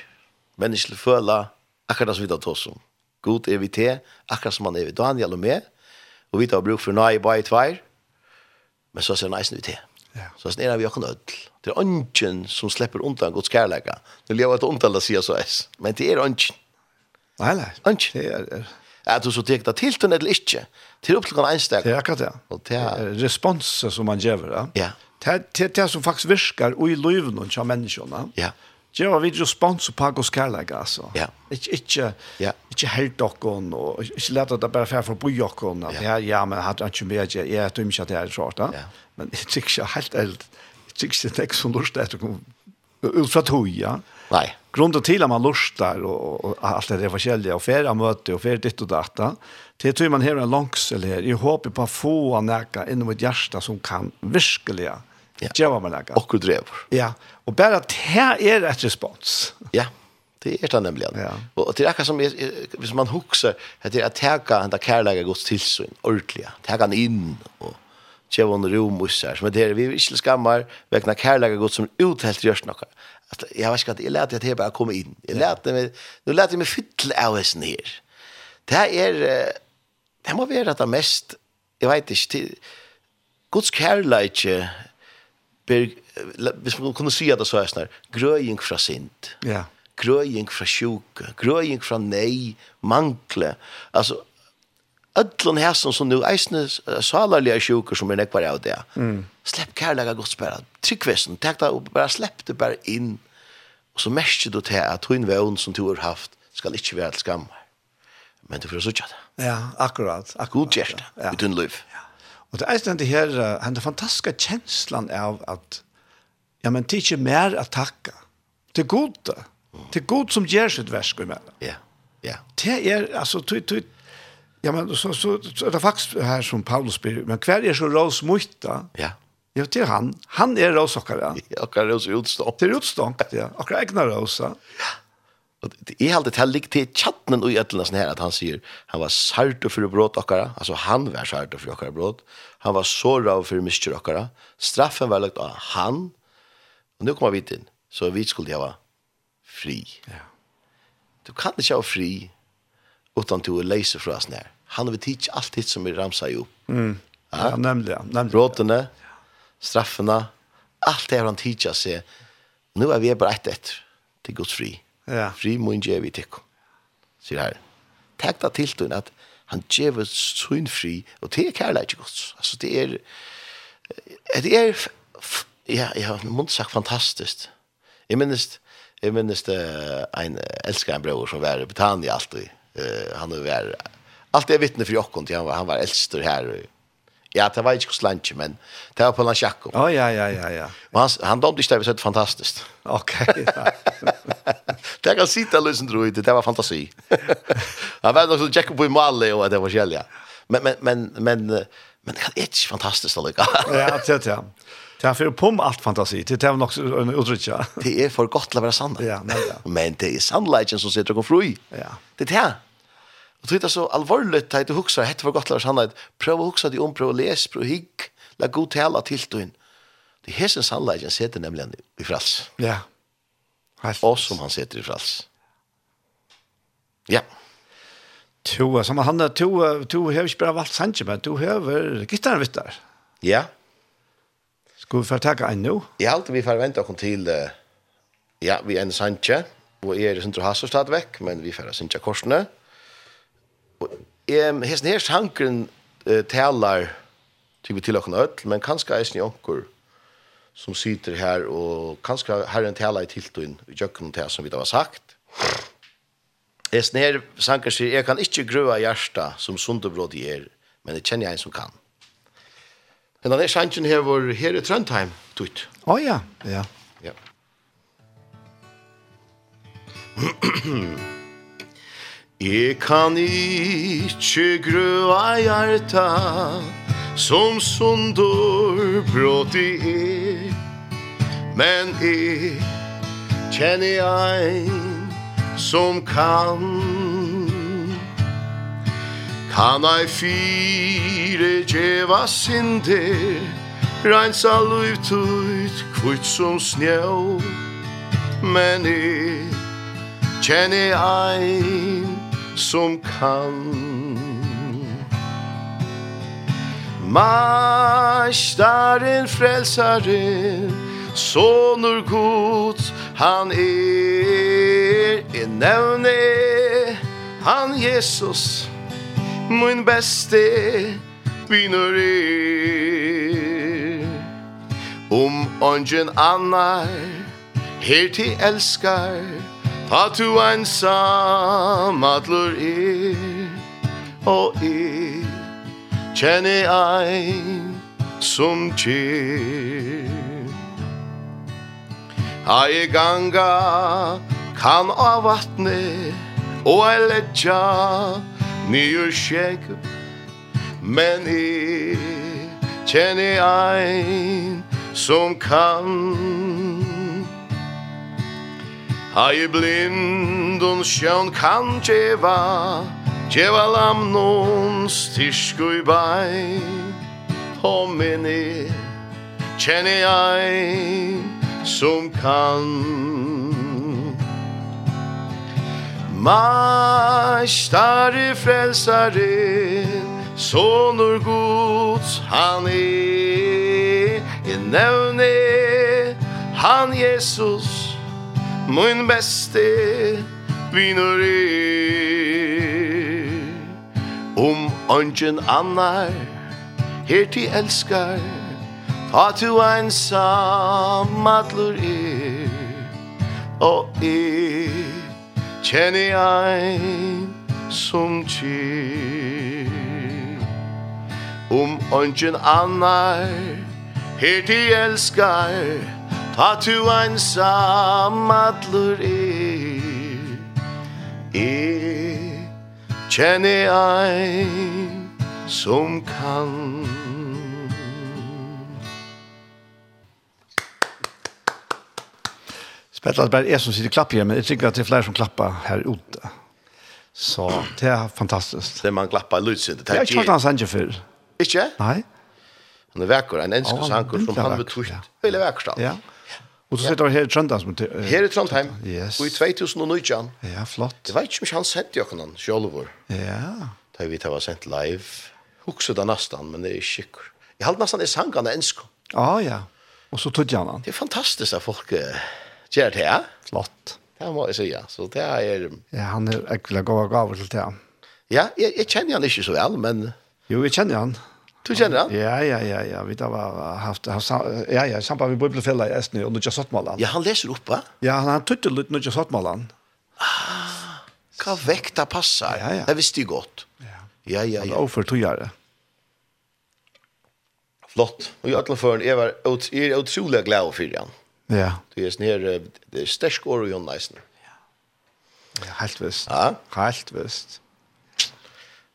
Speaker 3: Mennesker føler akkurat det som vi tar oss om. God er vi til, akkurat som han er vi. Daniel og meg, og vi tar bruk for nøye bare i tvær, men så ser næsten vi til.
Speaker 2: Ja.
Speaker 3: Så sånn er det vi åkken ødel. Det er ønsken som slipper undan Guds kærleika. Det lever et omtale å si så es. Men det er ønsken.
Speaker 2: Nei, nei.
Speaker 3: Ønsken.
Speaker 2: Det er, er-
Speaker 3: At du så tek det til den eller ikke. Til opp til den
Speaker 2: det
Speaker 3: ensteg.
Speaker 2: er akkurat det.
Speaker 3: Og det er,
Speaker 2: Eh, Responser som man gjør. Ja.
Speaker 3: Ja.
Speaker 2: Det er det, er det som faktisk virker og i livet noen av menneskene.
Speaker 3: ja,
Speaker 2: Det var vidt respons på hos kærlighet, altså.
Speaker 3: Ja.
Speaker 2: Ikke, ikke,
Speaker 3: Ja.
Speaker 2: ikke helt dere, og ikke lett at det bare er for å bo dere.
Speaker 3: Ja.
Speaker 2: Ja. ja, ja, men hadde han ikke med, jeg er dømt ikke at det er svart, da.
Speaker 3: Ja.
Speaker 2: Men jeg tykker ikke helt helt, jeg tykker ikke det er ikke så lurt etter å komme ut fra tog, ja.
Speaker 3: nei,
Speaker 2: Grunden til at man lustar og, og, og alt det der forskjellige, og ferie møte, og ferie ditt og datt, da. til tror man har en langsel her, jeg håper på å få noe innom et hjerte som kan virkelig
Speaker 3: Ja.
Speaker 2: gjøre meg noe.
Speaker 3: okkur drever.
Speaker 2: Ja, og bare at her er et respons.
Speaker 3: Ja, det er det nemlig.
Speaker 2: Ja.
Speaker 3: Og og det er akkurat som, jeg- jeg- hvis man hukser, det er at teka henne kærlega gods tilsyn, ordentlig. Teka henne inn, og tjeva henne rom og sær. Men det er, vi er ikke skammer, vekna kærlega gods som uthelt gjørs noe. At, jeg vet ikke at jeg lærte at jeg bare kom inn. Jeg lærte meg, nå lærte jeg meg fytle av hessen her. Det her er, eh, det må være at det mest, jeg vet ikke, til, Guds kærleik, ber, eh, hvis man kunne si at det så er sånn her, grøying fra sint
Speaker 2: Ja.
Speaker 3: grøying fra sjuke, grøying fra nei, mangle. Altså, ödlun hæsson som nu eisne salarliga sjuker som er nekvar av det. Mm. Slepp kærlega godt spæra. Tryggvesen, tek det og bare slepp det bare inn. Og så merker du til at hun vevn som du har haft skal ikke være til skammer. Men du får sutja det.
Speaker 2: Ja, akkurat. akkurat
Speaker 3: God gjerne,
Speaker 2: Ja.
Speaker 3: i tunn liv.
Speaker 2: Og det er sånn det her, eh, den fantastiske kjenslan av at, ja, men det er ikke mer å takke. Det er god det. Det er god som gjør sitt versk i meg.
Speaker 3: Ja, ja,
Speaker 2: Det er, altså, du, du, ja, men så, så, så er det faktisk her som Paulus spyr, men hver er så rås mot da?
Speaker 3: ja.
Speaker 2: Jo, det er han. Han er rås okkar, ja.
Speaker 3: Ja, kan det også utstå.
Speaker 2: Det er utstångt, ja. Okkar egna råsa.
Speaker 3: Og det- Jeg held det til ligg til chatten og i ætlene sånn her at han sier han var sartor for brått okkara, altså han var sartor for okkara brått, han var såra for mistyr okkara, straffen var lagt av han, og nu kommer vi inn, så vi skulle hava fri.
Speaker 2: Ja.
Speaker 3: Du kan ikke ha fri utan du er leise fra sånn her. Han vil tids alt hitt er som vi ramsa jo.
Speaker 2: Ja, nemlig, ja. Nemlig.
Speaker 3: Bråtene, straffene, alt det har han tidsa seg. Nu er vi bare ett etter til Guds fri.
Speaker 2: Ja.
Speaker 3: Fri må ikke vi tikk. Sier her. Takk da til den at han gjør sin fri, og det er kærlighet ikke godt. Altså det er, det er, f- f- ja, jeg har mundt sagt fantastisk. Jeg minnes, jeg minnes det en elsker en bror som var i Britannia alltid. Eh, Han var, alltid er vittne for jokken til han var, han var eldster her. Ja, det var ikke hos landet, men det var på Lansjakko.
Speaker 2: Å, ja, ja, ja, ja.
Speaker 3: Og han, han domte ikke det, vi sa det var fantastisk.
Speaker 2: Ok, ja.
Speaker 3: Det kan sitta lösen tror inte, det var fantasi. Han var också Jacob på Malle och det var skälja. Men men men men eh, men det är inte fantastiskt alltså.
Speaker 2: Ja, det er det. Det er for å pumme alt fantasi. Det er nok en uttrykk, ja.
Speaker 3: Det er är för gott att vara sanna.
Speaker 2: Ja, men ja.
Speaker 3: Men det är sannligheten som sitter och fri.
Speaker 2: Ja.
Speaker 3: Det är det. Och det är så allvarligt att du huxar hett för gott att vara sanna. Pröva att huxa dig om, pröva att läsa, pröva att higg. La god tala till dig. Det är hesen sannligheten sitter nämligen i frals.
Speaker 2: Ja. Helt.
Speaker 3: Och som han sitter i frals. Ja.
Speaker 2: to, som han er, to, to har ikke bare valgt Sanchez, men to har gittaren vitt der.
Speaker 3: Ja.
Speaker 2: Skal vi få takke en nå?
Speaker 3: Jeg halte vi får vente oss til eh, ja, vi er en sanje, og jeg er sin til Hasso stadigvæk, men vi får sanje korsene. Og um, hesten her sankeren uh, taler til vi til oss ødel, men kanskje er sin jonker som sitter her, og kanskje herren taler i tiltøyen, i jøkken til som vi da har sagt. Hesten her sankeren sier, jeg kan ikke grøve hjertet som sundebrod i er, men jeg kjenner en som kan. Hennan er sannsyn her var her i Trondheim, tutt.
Speaker 2: Å ja, ja.
Speaker 3: Ja. Jeg kan ikke grøa hjarta som sundur bråti er Men jeg kjenner ein som kan Kan ei fire djeva synder Reinsa luft ut kvitt som snjå Men jeg kjenner ein som kan Mastaren frelsaren Sonur Gud han er Jeg nevner han Jesus Min beste vinner er Om ongen annar Her til elskar Ta tu einsam atlur er Og er Kjenner ein som kjer Ai ganga kan av vatne Og ei letja nye skjegg Men i kjenner ein som kan Ai blind og sjøn kan djeva Djeva lam noen styrsk og i bei Og minni kjenner ein som kan Mastare frelsare Sonur Guds han er Jeg nevner han Jesus Min beste vinur er Om ongen annar Her til elskar Ta tu einsam atlur er Og er Kjenner ein som kjer Om ongen Um annar Her til elskar Ta tu einsam atlur er Jeg kjenner ein som kan
Speaker 2: Spett at bare jeg er som sitter og klapper her, men jeg tykker at det er flere som klapper her ute. Så det er fantastisk.
Speaker 3: Det man klappar lutsynd.
Speaker 2: Jeg har ikke hørt hans sanger før.
Speaker 3: Ikke?
Speaker 2: Nei?
Speaker 3: Han er vekker, en ensk
Speaker 2: Ja, han er
Speaker 3: sanker som
Speaker 2: veldig
Speaker 3: han
Speaker 2: vakker,
Speaker 3: betrykt.
Speaker 2: ja.
Speaker 3: Veldig vekker stand.
Speaker 2: Ja. Og så sitter vi her i Trøndheim. som er- eh,
Speaker 3: Her i Trondheim,
Speaker 2: Yes.
Speaker 3: og i 2019.
Speaker 2: Ja, flott.
Speaker 3: Jeg vet ikke om han sendte jo han sjølvor.
Speaker 2: Ja.
Speaker 3: Da vi har sendt live. Hukse da nesten, men det er ikke sikker. Jeg halde nesten i sangene ensk.
Speaker 2: Ja, ja. Og så tog han han.
Speaker 3: Det er fantastisk at folk eh, gjør det, ja.
Speaker 2: Flott.
Speaker 3: Det må jeg si, ja. Så det er... um,
Speaker 2: Ja, han er ekkelig gav og gav til det.
Speaker 3: Ja, jeg, jeg kjenner han ikke så vel, men
Speaker 2: Jo, vi kjenner han.
Speaker 3: du kjenner han?
Speaker 2: Ja, ja, ja, ja. Vi da var haft, haft sam- ja, ja, i samband med Bibelfella i Estny og Nudja Sottmålan.
Speaker 3: Ja, han leser oppe.
Speaker 2: Ja, han, han tøtte litt Nudja Sottmålan.
Speaker 3: Hva vekt det passer.
Speaker 2: Ja, ja.
Speaker 3: Det visste jeg godt. Ja, ja,
Speaker 2: Ja.
Speaker 3: ja.
Speaker 2: Og for togjere.
Speaker 3: Flott. Og i alle fall, jeg var ut- jeg er utrolig glad for han.
Speaker 2: Ja,
Speaker 3: Det er sånn her, eh, det er stersk år og Jon Leisner.
Speaker 2: helt visst.
Speaker 3: Ja.
Speaker 2: Helt visst.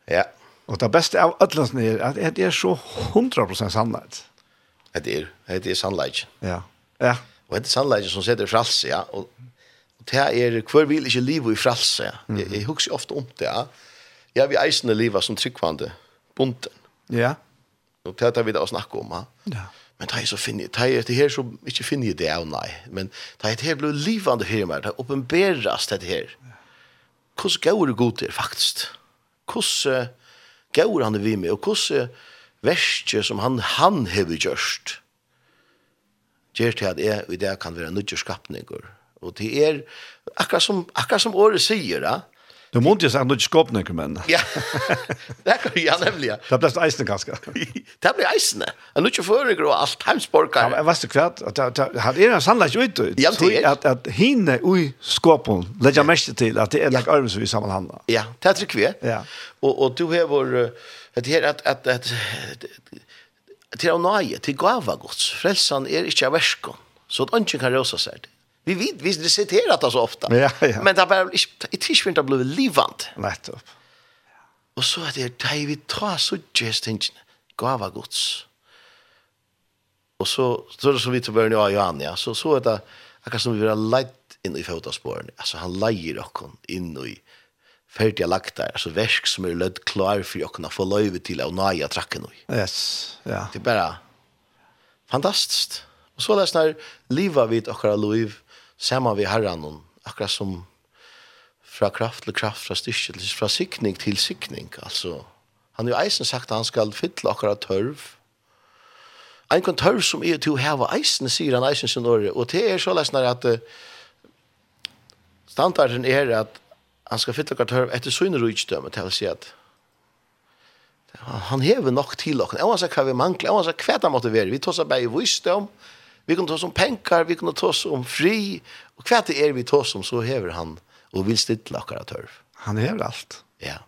Speaker 3: Ja,
Speaker 2: Og det beste av ødelansene er at det er så 100% sannhet.
Speaker 3: det er, det er sannleidjen.
Speaker 2: Ja. Ja.
Speaker 3: Og det er sannleidjen som setter fralse, ja. Og, og det er, hver vil ikke livet i fralse, ja. Jeg, jeg husker ofte om det, um ja. Jeg vil eisende livet som tryggvande, bunten.
Speaker 2: Ja.
Speaker 3: Og det er det vi da snakker om, ja.
Speaker 2: Ja.
Speaker 3: Men det er så finner jeg, det er det her som ikke finner jeg det av, nei. Men det er det her blir livende her, men det er åpenberes det her. Hvordan gaur er god er, faktisk? Hvordan gaur han er vi med, og hvordan verste som han, han har gjørst, gjør til at jeg i det kan være nødvendig skapninger. Og det er, akkurat som, akkurat som året sier, ja.
Speaker 2: Du måtte jo sagt Nudja Skåpning, men
Speaker 3: eh? Ja, det er ja, nemlig, ja.
Speaker 2: det ble eisende ganske.
Speaker 3: Det blir eisende. Jeg er nødt til å føre og alt
Speaker 2: Ja,
Speaker 3: heimsborgere.
Speaker 2: men jeg vet ikke hva, at det- det- han er en sannhet ut, ut.
Speaker 3: Ja, men det er-
Speaker 2: At, at henne ui skåpen legger mest til at det er lagt armen som vi sammenhandler.
Speaker 3: Ja, det er tror jeg.
Speaker 2: Ja.
Speaker 3: er Og, og du har vår, eh, det her at, at, at til å nøye, til gava gods. Frelsan er ikke av verskon, så at ønsken kan råsa seg det. Vi vet, vi siterer det så ofte.
Speaker 2: Ja, ja.
Speaker 3: Men det er bare ikke, i tidsvinter blir det livant.
Speaker 2: Nettopp.
Speaker 3: Og så er det der vi tar så gjes tingene, gava gods. Og så, så er det som vi til børn av Johan, ja, så, så er det akkurat som vi vil ha leit inn i fotasporene. Altså han leier okken inn i ferdige lagt der, altså versk som er lødd klar for okken å få løyve til å nøye trakken i.
Speaker 2: Yes, ja.
Speaker 3: Det er bara fantastiskt. Og så läs när liva vid akra liv samman vid herran um, och akra som fra kraft til kraft, fra styrke til fra sikning til sikning. Altså, han har jo eisen sagt at han skal fylle akkurat tørv. En kan tørv som er til å heve eisen, sier han eisen sin åre. Og det er så lesnere at eh, standarden er at han skal fylle akkurat tørv etter syne rujtdømme, til å si at han hever nok til okken. Jeg må hva vi mangler, jeg må hva det måtte være. Vi tar oss bare i visdom, vi kan ta oss om penger, vi kan ta oss om fri, og hva det er vi tar oss om, så hever han og vil stille akkurat tørv.
Speaker 2: Han hever alt.
Speaker 3: Ja,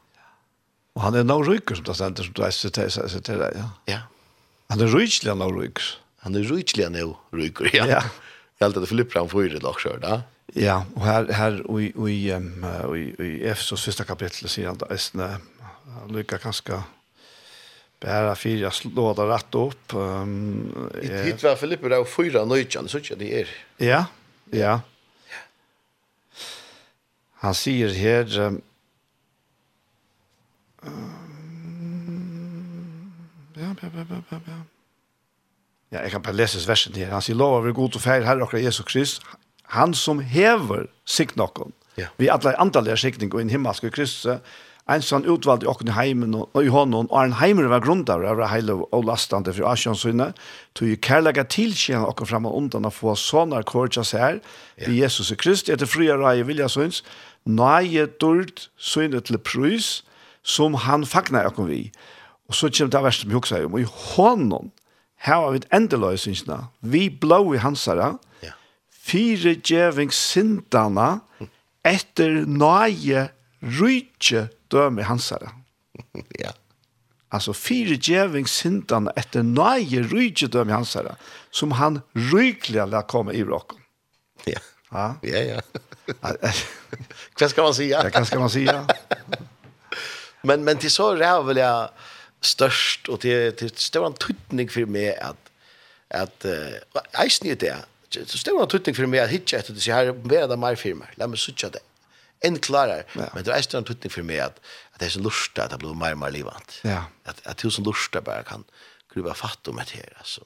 Speaker 2: Og han er nå ryker, som det stender, som du er sitert, jeg sitert, ja.
Speaker 3: ja.
Speaker 2: Han er rykelig nå ryker.
Speaker 3: Han er rykelig nå, ryker, ja.
Speaker 2: Ja.
Speaker 3: ja. Jeg held at Filipper han får i det lakskjør, da.
Speaker 2: Ja, og her, her og i, og i, um, og i, og i Efesos første kapittel sier han da, eisne, han lykker kanskje bæra fire slåda rett opp. Um, eh,
Speaker 3: Hitt var Filipper av fyra nøytjan, så ikke det er.
Speaker 2: Ja, ja. Han sier her um, ja, ja, ja, ja, ja, ja. Ja, jeg kan bare lese versen her. Han sier, lov over god og feil, herre okra Jesus Krist, han som hever sikt noen.
Speaker 3: Ja.
Speaker 2: Vi alle antallige sikning og en himmelske Kristus, en sånn utvalgte åkken i heimen og og i hånden, og en heimer var grunntar av heile og lastande for asjonsynne, tog jo kærlega tilkjennom åkken fram og undan å få sånne kvartja seg her, i Jesus Krist, etter fria rai vilja syns, nøye dørt synne til prøys, som han fagnar åkken vi. Og så kommer det verset vi husker om, um, og i hånden, her har vi et endeløysynsene, vi blå i hansara,
Speaker 3: Ja.
Speaker 2: fire djeving sindana etter nøye rydtje døme hansara.
Speaker 3: ja.
Speaker 2: Altså fire djeving sindana etter nøye rydtje døme hansara, som han rykliga la komme i råkken.
Speaker 3: Ja.
Speaker 2: Ja,
Speaker 3: Ja, ja.
Speaker 2: det
Speaker 3: Hva skal man si? Ja,
Speaker 2: kan skal man säga.
Speaker 3: Men men till så rävliga störst och till till stor en tutning för mig att att eh eisen ju det. Så stor en tutning för mig att hitcha att det så här vara där mer firma. Låt mig söka det. En klarar.
Speaker 2: Ja.
Speaker 3: Men det er är stor en tutning för mig att att det är så lust att det blir mer mer livant.
Speaker 2: Ja.
Speaker 3: Att att tusen lust bara kan gruva fatt um om det här alltså.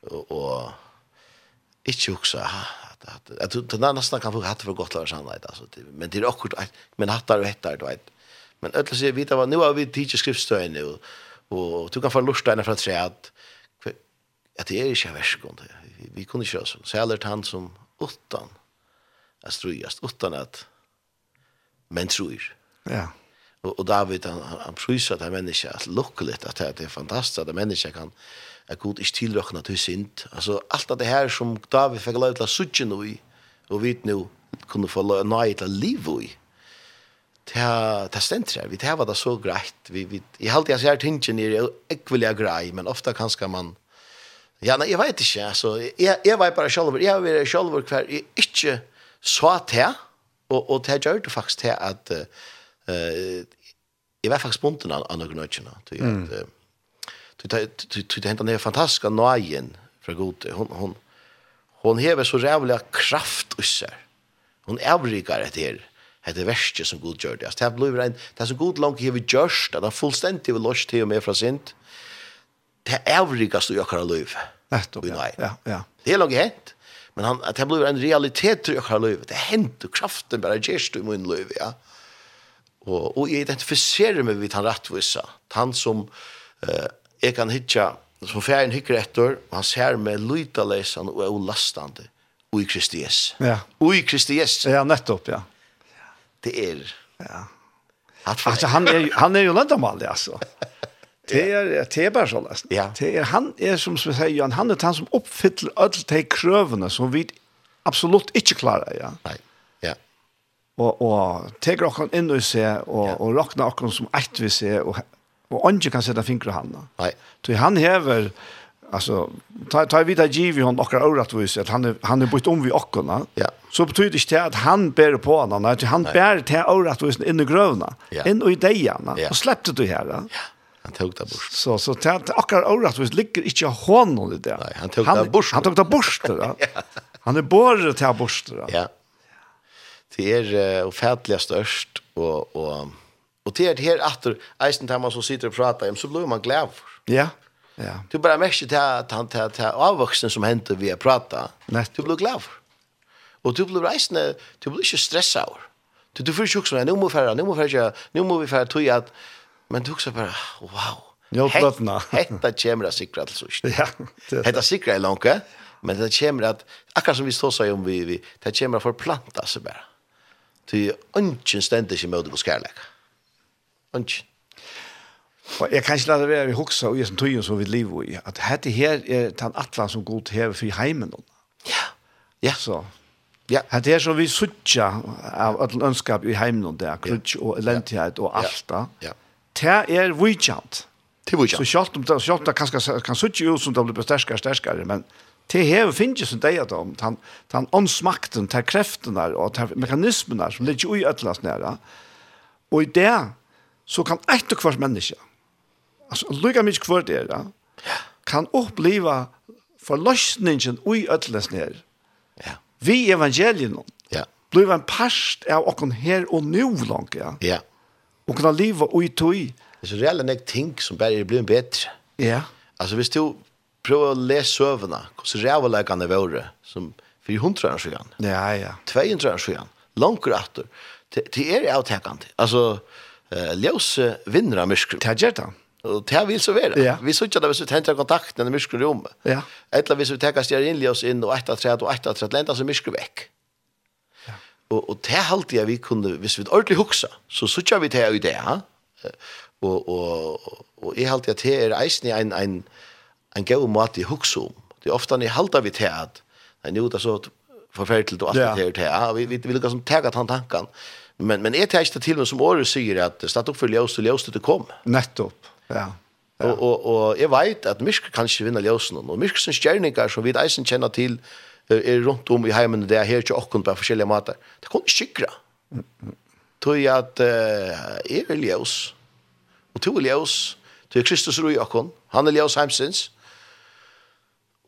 Speaker 3: Och och inte också att att att att den nästan kan få hatt för gott lära sannhet alltså det- men det är också men hattar och hettar du vet men öll så vita vad nu har vi teacher skriftstöj nu och du kan få lusta innan för att säga att att det är inte värskont vi, vi kunde köra så så eller han som åttan att strujast åttan att men tror
Speaker 2: Ja.
Speaker 3: Och, och David han, han, han prisar det här människan att lyckligt att det att det är fantastiskt att en människa kan att Gud inte tillräkna till synd. Alltså allt det här som David fick lov till att sutja nu i och vi nu kunde få lov nöje till liv i. Det här- det här ständer här. Vi det här var det så grejt. Vi, vi, I allt jag ser tingen är det äckliga grej men ofta kanske man Ja, nei, jeg vet ikke, altså, jeg, jeg var bare selv, jeg var bare selv hver jeg ikke sa til, og, og det gjør det faktisk til at eh, uh, jeg var faktisk bunden av, av noen nødgjene, til
Speaker 2: Mm.
Speaker 3: at eh, til- til- til til det hentet ned fantastiske nøyen fra Gode, hun, hun, hon hever så rævlig kraft i seg. Hon avrikar et her, etter verste som Gud gjør det. Altså, det blir en, det som Gud langt hever gjørst, at han fullstendig vil løs til og med fra sint, det avrikast i okkara liv.
Speaker 2: Nettopp.
Speaker 3: Oj,
Speaker 2: Ja,
Speaker 3: nej.
Speaker 2: ja, ja.
Speaker 3: Det er langt hent, men han, at det blir en realitet i okkara liv. Det hent, og kraften bare gjerst i min liv, ja. Og, og jeg identifiserer meg vid han rettvisa. Han som eh, jeg kan hitja, som færen hikker etter, og han ser meg lytalesan og er olastande. Ui Kristi Jesu.
Speaker 2: Ja.
Speaker 3: Ui Kristi Jesu.
Speaker 2: Ja, nettopp, ja.
Speaker 3: Det er...
Speaker 2: Ja.
Speaker 3: Hatt for-
Speaker 2: Alltså han är han är ju landamal alltså. Det är det är bara så läst.
Speaker 3: Ja.
Speaker 2: Det är han är som som säger Johan han är han som uppfyller alla de krövarna som vi absolut inte klarar ja.
Speaker 3: Nei, ja.
Speaker 2: Och och tar också in och se och och rocknar också som ett vi ser och og andre kan sette fingre han.
Speaker 3: Nei.
Speaker 2: Så han hever, altså, ta, ta vidt av giv i hånd akkurat åretvis, at han er, han er bytt om vi akkurat,
Speaker 3: Ja.
Speaker 2: så betyr det ikke det at han bærer på han, nei, ty han bærer til åretvis inn i grøvene,
Speaker 3: Ja.
Speaker 2: inn i deiene,
Speaker 3: Ja.
Speaker 2: og slepte du her. Ja.
Speaker 3: Han tog det bort.
Speaker 2: Så så ta akkurat åretvis ligger ikke hånden i det.
Speaker 3: Nei, han tok det bort.
Speaker 2: Han tok det bort. da. Han er båret til bort. da.
Speaker 3: Ja. Det er uh, ufattelig størst, og, og, og det er det her atter, eisen tar man som sitter og prater, om, så blir man glad for.
Speaker 2: Ja. Ja.
Speaker 3: Du bara märker till att han till till avvuxen som händer vi prata.
Speaker 2: Nej.
Speaker 3: Du blir glad. Och du blir resande, du blir inte stressad. Du du försöker så nu måste färra, nu måste färra, nu måste vi färra till att men du också bara wow.
Speaker 2: Ja, blötna.
Speaker 3: Hetta kemra sikra till så.
Speaker 2: Ja. det-
Speaker 3: Hetta sikra är långt, eh? men det kemra att akkurat som vi står så om vi vi det kemra för planta så bara. Ty ungen ständer sig mot det skärlek. Ungen.
Speaker 2: Og jeg kan ikke lade være i hoksa og jeg som tøyen som vi lever i, at dette her er den atlan som god hever for heimen.
Speaker 3: Ja. Ja.
Speaker 2: Så.
Speaker 3: Ja.
Speaker 2: Hette er som vi suttja av all ønskap i heimen der, krutsk og elendighet og alt da.
Speaker 3: Ja.
Speaker 2: Det er vikjant.
Speaker 3: Till vuxen.
Speaker 2: Så um sjalt om det, sjalt det kanskje kan suttja ut som det blir sterkere og sterkere, men det hever finnes som det er da, om den, den åndsmakten, den kreften der, og den mekanismen der, som ligger i øtlans nære. Og i det, så kan ett og hvert menneske, altså lukka mykje kvart er det, kan oppleva forløsningen i øtlans nære.
Speaker 3: Ja.
Speaker 2: Vi evangelien,
Speaker 3: Ja.
Speaker 2: blir en parst av okken her og nå langt, ja.
Speaker 3: Ja.
Speaker 2: Og kan leva og i tog,
Speaker 3: Det er så reelle nek ting som bare er blevet bedre.
Speaker 2: ja.
Speaker 3: Altså, hvis du prøver å lese søvene, hvordan rævleggene våre, som 400 år siden,
Speaker 2: Ja, ja.
Speaker 3: 200 år siden, langt etter, det det er avtekende. Altså, uh, ljøse vinner av myskrum.
Speaker 2: Det gjør det.
Speaker 3: Og det vil så være.
Speaker 2: Ja.
Speaker 3: Vi så ikke det hvis vi henter kontakten i myskrum rommet.
Speaker 2: Ja.
Speaker 3: Eller hvis vi tenker stjerinljøs inn og etter tredje og etter tredje, lente så myskrum vekk. Og, og det halte jeg vi kunne, hvis vi ordentlig huksa, så sutja vi det i det, ha? Eh, Og, og, og jeg halte at det er eisen i en, en, en gau måte i huksa om. Det er ofte når jeg halte vi det at, nei, nu det er så forferdelig og alt
Speaker 2: Ja.
Speaker 3: det her, det er, vi, vi, vi lukkar som tega han tankan. Men, men jeg tar ikke til meg som året sier at statt opp for ljøst og ljøst til det kom.
Speaker 2: Nettopp. Ja.
Speaker 3: Og, og, og jeg vet at mysk kan ikke vinne ljøsen, og myskens gjerninger som vi eisen kjenner til eh, er rundt om i heimen, det er her til åkken på forskjellige måter. Det kan ikke sikre. Tog jeg at uh, jeg er ljøs, og to er ljøs, tog jeg Kristus ro i åkken, han er ljøs heimsins,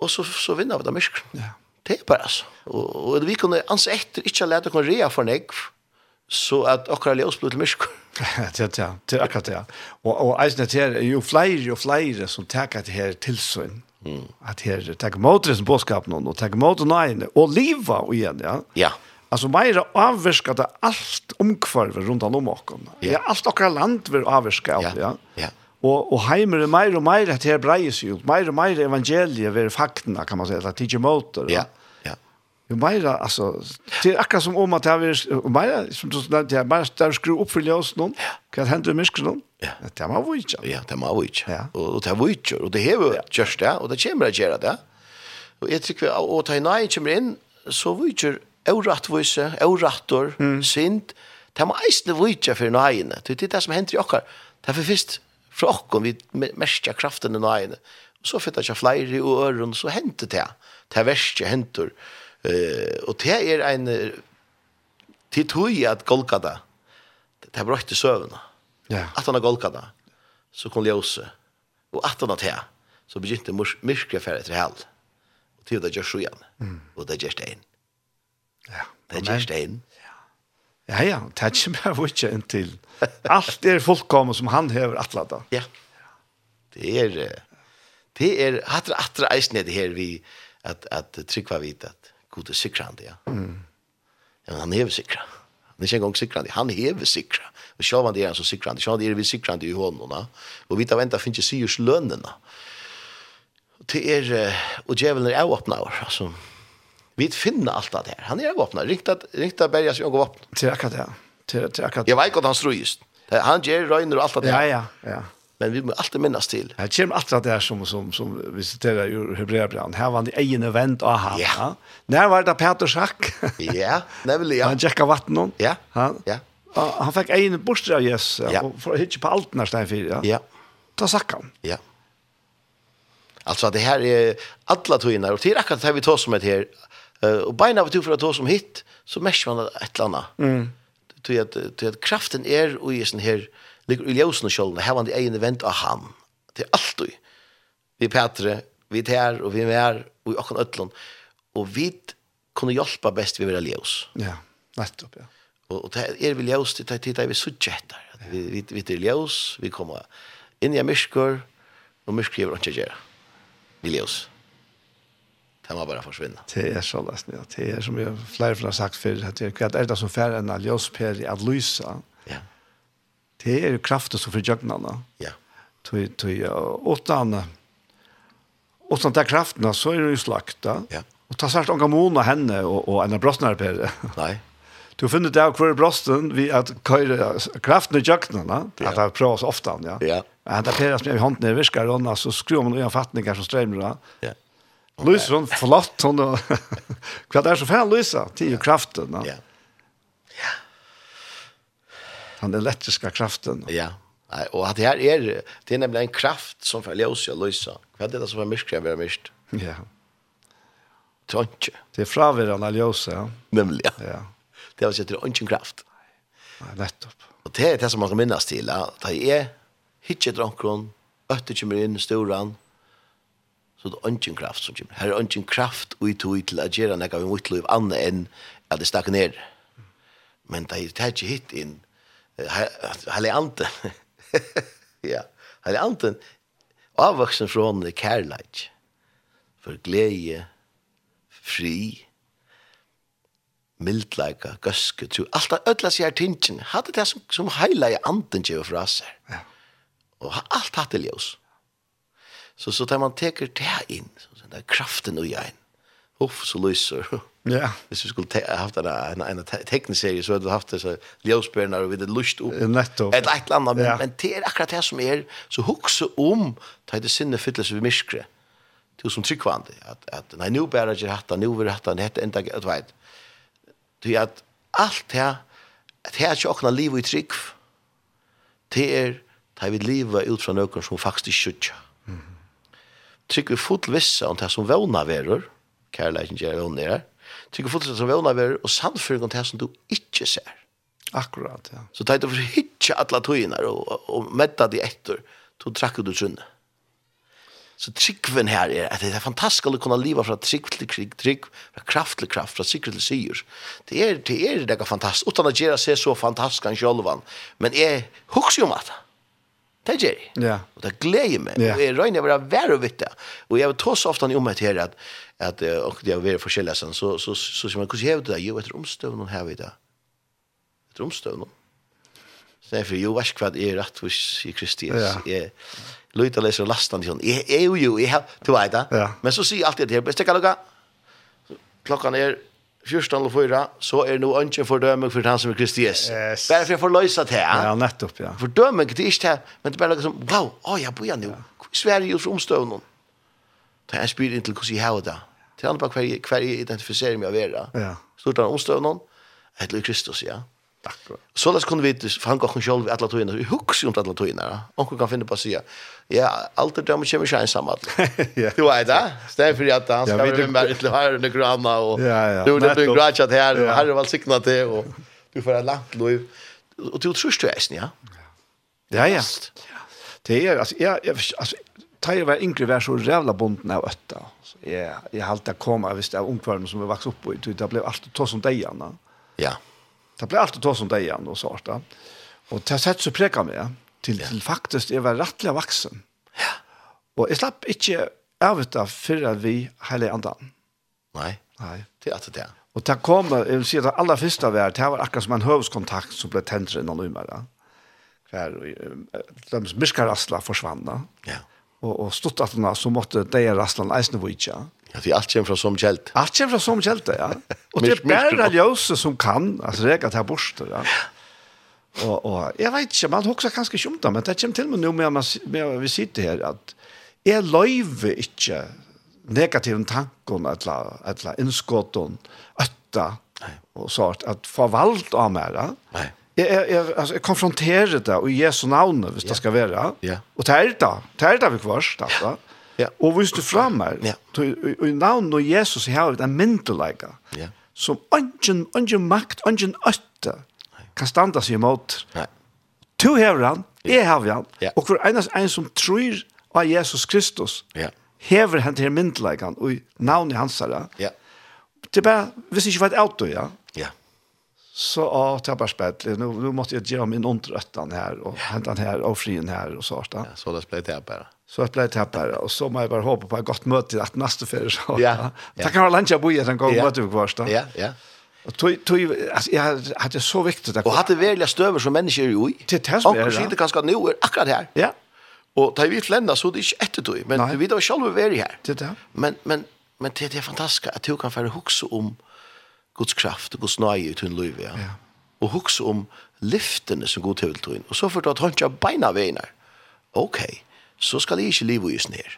Speaker 3: og så, så vinner vi det mysk.
Speaker 2: Ja.
Speaker 3: Det er bare altså. Og, og vi kunne anse etter ikke å lete kunne rea for negv, så at åkker ljøs blir til mysk.
Speaker 2: det ja, det er akkurat det. Og, og eisen at her er jo flere og flere som takker at her tilsyn. Mm. At her takker måter som påskap noen, og takker måter nøyene, og livet og igjen, ja.
Speaker 3: Ja.
Speaker 2: Altså, meira avvirka det alt omkvarver rundt om åkken.
Speaker 3: Ja.
Speaker 2: Ja. Alt okkar land vil avvirka av, ja.
Speaker 3: Ja.
Speaker 2: Og, og heimer er meir og meir at her breies jo, meir og meir evangeliet vil faktene, kan man si, eller tidsi måter.
Speaker 3: Ja. Ja.
Speaker 2: Jo meira, altså, det er akkurat som om at det er, jo meira, som du nevnte, det er meira, det er skru opp for ljøs noen, hva hender i myskren noen?
Speaker 3: Ja.
Speaker 2: Det er man vujtja.
Speaker 3: Ja, det må vi ikke.
Speaker 2: Ja.
Speaker 3: Og, og det må vi ikke. Og det har vi gjort det, og det kommer å gjøre det. Og jeg tror vi, og da nei kommer inn, så vi ikke overrattvise, overrattor, synd. Det må eisne vi ikke for nøyene. Det er det som hender i okkar. Det er for først fra okkar vi merker kraften i nøyene. Og så fytter jeg flere i øren, så henter det. Det er verst jeg henter. Eh, og det er en eh, til tog i at Golgata, det er brøtt i søvnene
Speaker 2: Ja.
Speaker 3: att han har golkade så kom ljose och att han har te så begynte mors- myrkret färre till hell och till det görs så igen och det görs det in
Speaker 2: Ja,
Speaker 3: det görs det in
Speaker 2: ja, ja, det er ikke meira vujtja inntil. Alt er fullkommen som han hever atlata.
Speaker 3: ja det är eh, det er är att att reisne det här vi att att trycka vid att god är sikrande er ja
Speaker 2: Mm.
Speaker 3: ja han är sikra han er är inte en gång sikrande han är sikra och så var det han så sikrande så det är vi sikrande i honom va? och vi tar vänta finns ju syrs lönerna det er, eh, og djevelen er avåpna år, altså. Vi finner alt av det her. Han er avåpna. Ringta, ringta berga seg og våpna.
Speaker 2: Det er akkurat det. Det er- det er akkurat det.
Speaker 3: Jeg vet ikke at han strøyest. Han gjør røyner og alt av det
Speaker 2: Ja,
Speaker 3: her.
Speaker 2: ja, ja.
Speaker 3: Men vi må alltid minnes til.
Speaker 2: Her kommer alt det her som, som, som vi siterer i Hebreabran. Her var han i egen event av han.
Speaker 3: Ja.
Speaker 2: Når var det Peter Schack?
Speaker 3: Ja, nemlig, ja.
Speaker 2: Han tjekka vatten hon.
Speaker 3: Ja,
Speaker 2: Han,
Speaker 3: ja.
Speaker 2: Og Han fikk egen borster av Jesus.
Speaker 3: Ja.
Speaker 2: Ja. Og for å hitje på alt den her stein fyrir. Ja.
Speaker 3: Ja,
Speaker 2: ta sakkan.
Speaker 3: Ja. Alltså det er här är alla toinar och till akkurat det här vi tar som ett här eh, och beina vi tog för att ta som hit så märker man ett eller annat. Mm. Till att, till att kraften är och i sån här ligger i ljusen och kjolden här var det egen event av han. Det är allt du. Vi är Petre, vi är här och vi är här och vi er är ötlån. Och vi kunde hjälpa bäst vi vill ha ljus.
Speaker 2: Ja, nettopp, ja.
Speaker 3: Och, och det här är vi ljus, det här tittar vi sujättar. Vi, vi, vi är ljus, vi kommer in i myskor och myskor gör inte göra. Vi ljus. Det må bara försvinna.
Speaker 2: Det er så lest, ja. Det er som jeg flere flere har sagt før, at det er det som færre enn aljosperi at lysa.
Speaker 3: Ja,
Speaker 2: Det er jo kraften som forjøgnene.
Speaker 3: ja,
Speaker 2: Tui, tui, åttan, åttan der kraftene, så er det jo slakta.
Speaker 3: Ja.
Speaker 2: Og ta svært unga mona henne og, och en av brostene her,
Speaker 3: nej,
Speaker 2: Du finner det av hver brosten vi at køyre kraften i jøgnene,
Speaker 3: Ja.
Speaker 2: at det prøves ofte, ja.
Speaker 3: Ja.
Speaker 2: Men det peres med i hånden i virker, og så skrur man noen fatninger som strømmer, ja.
Speaker 3: ja,
Speaker 2: Lyser hon flott hon då. Vad det är så fan lysa till ju kraften. Ja.
Speaker 3: ja,
Speaker 2: Den elektriska kraften.
Speaker 3: ja. Nej, och att det här är, er, det är nämligen en kraft som får ljus och lysa. Vad är er det som är mysk, jag vill mysk?
Speaker 2: Ja.
Speaker 3: Tronche,
Speaker 2: Det är fraveran aljosa. Ja.
Speaker 3: nämligen.
Speaker 2: Ja.
Speaker 3: Det har sett det är inte en kraft.
Speaker 2: Nej, nettopp.
Speaker 3: Og det er det som man kan minnes til, at da jeg er hitje drankron, øtter kommer inn i storan, så det er ingen kraft som kommer. Her er ingen kraft ui tog til at gjøre nekka vi mot liv annet enn at det stakk ned. Men da jeg tar er ikke hit inn, Eh, hele anden, ja, hele anden, avvaksen fra henne er kærleik, for glede, fri, mildleika, gøske, tru, alt det ødla seg her tingene, hadde det som, som heila i anden kjøy fra seg. Ja. Og ha- alt hatt det ljøs. Så, så tar man teker det inn, så den der kraften og jeg inn. Uff, så lyser.
Speaker 2: Ja.
Speaker 3: Hvis vi skulle te- haft en, en, en te- tekniserie, så hadde vi haft disse ljøsbørner, og vi hadde lyst opp.
Speaker 2: Nettopp.
Speaker 3: Et eller annet, men,
Speaker 2: Ja.
Speaker 3: men det er akkurat det som er, um så hukse om, ta det sinne fyllelse ved myskre, til som tryggvande, at, at nei, nå bærer jeg ikke hatt, nå vil jeg hatt, hette enda, du vet, til at alt det, at her er ikke åkna liv i trygg, det er, ta vi livet ut fra nøkken som faktisk ikke skjøtja. Trygg vi fot vissa um om det som våna verur, kærleikken gjør våna er, trygg vi fot vissa som våna verur, og um sannføring om det som du ikke ser.
Speaker 2: Akkurat, ja.
Speaker 3: Så er tar du for hitje alle tøyene og, og metta de etter, så trakk du trunne. Så tryggven her er at det er fantastisk å kunne leve fra trygg til trygg, trygg fra kraft til kraft, fra sikker til sier. Det er det, er det fantastisk, utan at gjøre seg så fantastisk han selv han. Men jeg husker jo om at det gjør jeg.
Speaker 2: Ja.
Speaker 3: Og det gleder meg.
Speaker 2: Ja.
Speaker 3: Og jeg røyner å være vær og vitt det. Og jeg tar så ofte om etter um at, at eh, og det er veldig forskjellig, sånn, så, så, så, så sier man, hvordan hever du det? Jo, etter omstøvnen her vi det. Etter omstøvnen. Så derfor, jo, vet ikke hva det er rett hos i Kristi.
Speaker 2: Ja.
Speaker 3: Jeg løyter og leser lasten til sånn. Jeg er jo, jo, jeg har, du vet det.
Speaker 2: Ja.
Speaker 3: Men så sier jeg alltid det her, stekk lukka. Klokkan er 14.04, så er nå ønsken fordøming for han som er Kristi. Yes.
Speaker 2: Yes.
Speaker 3: Bare for jeg får løse det her
Speaker 2: Ja, nettopp, ja.
Speaker 3: fordøming, det er ikke det, men det er bare liksom, wow, å, jeg bor nå, Sverige gjør for omstøvnen. Det er en spyr inn til hvordan jeg har det. Det er andre bare hver jeg- hver jeg identifiserer meg av vera.
Speaker 2: Ja.
Speaker 3: Stort av omstøvnen, etter Kristus, ja.
Speaker 2: Akkurat.
Speaker 3: Så lest kunne vi fange oss selv i alle togene, vi husker jo om alle togene, ja. Onkel kan finne på å si, ja, alt er dømme kommer ikke ensam, alle.
Speaker 2: Ja.
Speaker 3: Du vet det, stedet for at han skal
Speaker 2: Ja, vi-
Speaker 3: være med til her under grana, og
Speaker 2: Ja, ja,
Speaker 3: du er
Speaker 2: nettopp.
Speaker 3: nødt til her, og
Speaker 2: Ja.
Speaker 3: her er vel sikna til, og du får et langt liv. Og du tror du er eisen, ja?
Speaker 2: Ja, ja. Det er, altså, jeg, jeg, altså, da jeg var yngre, var jeg så rævla bonden av øtta. Så Jeg, jeg halte å komme, jeg visste, av ungkvarmen som jeg vokste opp i, det ble alltid tås om deg, ja.
Speaker 3: Ja.
Speaker 2: Det ble alltid tås om deg, ja, og så arta. Og til sett så preka meg, til, til faktisk, jeg var rettelig vaksen. Og jeg slapp ikke av dette før vi hele andan.
Speaker 3: Nei,
Speaker 2: Nei.
Speaker 3: det er alltid det.
Speaker 2: Og det kom, jeg vil si at det aller første var, det var akkurat som en høveskontakt som ble tentere innan nummer. Hver, de miskarasla forsvann. da.
Speaker 3: Ja.
Speaker 2: Og, og stått at henne, så måtte de raslan eisne vujtja.
Speaker 3: Ja, det er alt kommer fra som kjelt.
Speaker 2: Alt kommer fra som kjelte, ja. Og det er
Speaker 3: Mis- mister
Speaker 2: bare
Speaker 3: du-
Speaker 2: ljøse som kan, altså er reka til her borster, ja. Og, og jeg vet ikke, man hokser kanskje ikke om det, men det kommer til meg nå med, med, med vi sitter her, at jeg løyver ikke negativen tanken, eller, eller innskåten, øtta, og sånt, at få valgt av meg, ja.
Speaker 3: Nei.
Speaker 2: Jeg, jeg, jeg, altså, jeg konfronterer det i Jesu navn, hvis det skal være.
Speaker 3: Ja.
Speaker 2: Og det er det. Det er det vi kvars, det er det.
Speaker 3: Ja.
Speaker 2: Og hvis du fremmer,
Speaker 3: Ja.
Speaker 2: og i navn og Jesus har vi den myndelige,
Speaker 3: Ja.
Speaker 2: som ingen, ingen makt, ingen øtte, kan standa seg imot.
Speaker 3: Nei.
Speaker 2: Tu hever han, jeg hever han,
Speaker 3: Ja.
Speaker 2: og hver eneste en som tror av Jesus Kristus,
Speaker 3: Ja.
Speaker 2: hever han til myndelegen, og i navnet hans herre.
Speaker 3: Ja.
Speaker 2: Det er bare, hvis jeg ikke vet alt, um ja,
Speaker 3: Ja.
Speaker 2: så å, det er bare spett, nå, nå måtte jeg gjøre min ondrøtten her, og hente han her, og frien her, og er så da.
Speaker 3: Så det ble det bare.
Speaker 2: Så jeg ble tatt her, og så må jeg bare håpe på et godt møte at neste ferie. Så,
Speaker 3: Ja, ja.
Speaker 2: Det kan være landet jeg bor i en gang,
Speaker 3: Ja.
Speaker 2: møte vi kvarst da.
Speaker 3: Ja, ja.
Speaker 2: Og tog, tog, altså, jeg hadde- hadde så viktig det.
Speaker 3: Og er hatt det velja støver som mennesker er jo i.
Speaker 2: Til test med, ja.
Speaker 3: Og sitter kanskje at nå er akkurat her.
Speaker 2: Ja,
Speaker 3: Og da vi flenda så er det ikke etter du, men
Speaker 2: Nei.
Speaker 3: vi da selv er vi her.
Speaker 2: det er det.
Speaker 3: Men, men, men det, det er fantastisk at du kan få hukse om um Guds kraft og Guds nøye i tunn liv, ja.
Speaker 2: Ja.
Speaker 3: Og um hukse om lyftene som god til tunn. Og så får du at håndtja beina veien her. Ok, så skal jeg ikke leve i oss ned.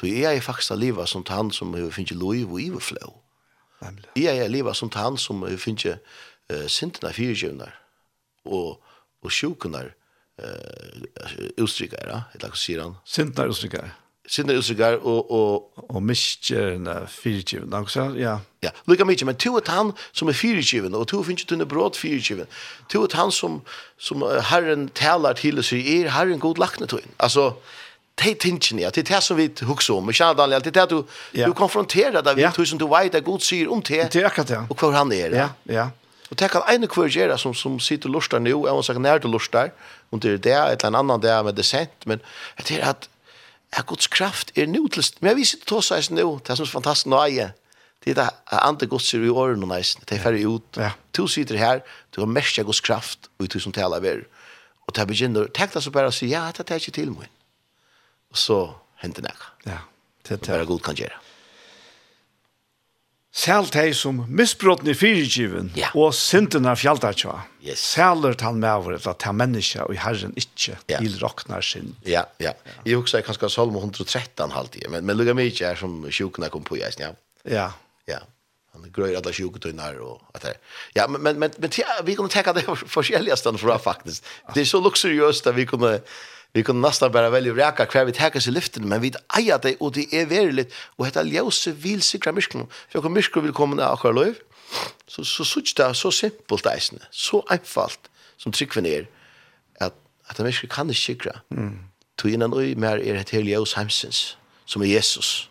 Speaker 3: Så jeg er faktisk av livet som til han som finner liv og iverflå.
Speaker 2: Nemlig.
Speaker 3: Jeg er livet som til han som finner uh, sintene fyrirgjøvner og, og sjukunar uh, utstrykkere, eller hva sier han?
Speaker 2: Sintner og stykker.
Speaker 3: Sintene utstrykkere og, og,
Speaker 2: Og miskjerne, fyrtjivende, og så, ja.
Speaker 3: Ja, lukka mykje, men to er han som er fyrirkiven, og to finnes tunne bråd fyrirkiven. To er han som, som eh, Herren talar til og sier, er Herren god lakne til Altså, det er tingene, ja, det er det som vi hukser om, ikke sant, Daniel, det er det du,
Speaker 2: Ja.
Speaker 3: du konfronterer deg
Speaker 2: Ja.
Speaker 3: med, to som du vet at god sier om det,
Speaker 2: Det er akkurat det.
Speaker 3: um og hvor han er.
Speaker 2: Ja, ja.
Speaker 3: Og det kan ene hver gjøre som, som sitter og lurer nå, og sier nær til lurer, om det er det, et eller annet det med det sent, men det er at, at Guds kraft er nå til, men jeg viser til oss eisen nå, det er som er fantastisk nøye, det er det at andre Guds er i årene og eisen, det er ferdig ut,
Speaker 2: Ja.
Speaker 3: to sitter her, du har mest av Guds kraft, og du som taler av er, og det begynner, tenk deg så bare å si, ja, dette er ikke til min, og så henter det noe,
Speaker 2: Ja, det er det.
Speaker 3: bare god kan gjøre.
Speaker 2: Selv de som misbråten i fyrirgiven
Speaker 3: Ja.
Speaker 2: og synden av fjaldatja.
Speaker 3: Yes.
Speaker 2: Sæler han med over at han menneske og i Herren ikke
Speaker 3: Ja.
Speaker 2: tilroknar sin.
Speaker 3: Ja, ja. Jeg husker kanskje Salmo 113 halvtid, men, men lukka mykje er som sjukene kom på i eisen, ja.
Speaker 2: Ja,
Speaker 3: Ja. Han gröjer alla sjukdomar och att det. Ja, men men men, men tja, vi kunde ta det olika ställen för faktiskt. Det är så luxuriöst att vi kunde vi kunde nästan bara välja räka kvar vi tar oss i lyften, men vi ejer det och det är verkligt och detta ljus vill sikra mysklen. För kommer mysklen vill komma och kolla löv. Så så såg det så simpelt det är. Så enkelt som tryck ner att att mysklen kan inte sikra. Mm. Tog innan och mer är det heliga hos Hemsens som är Jesus.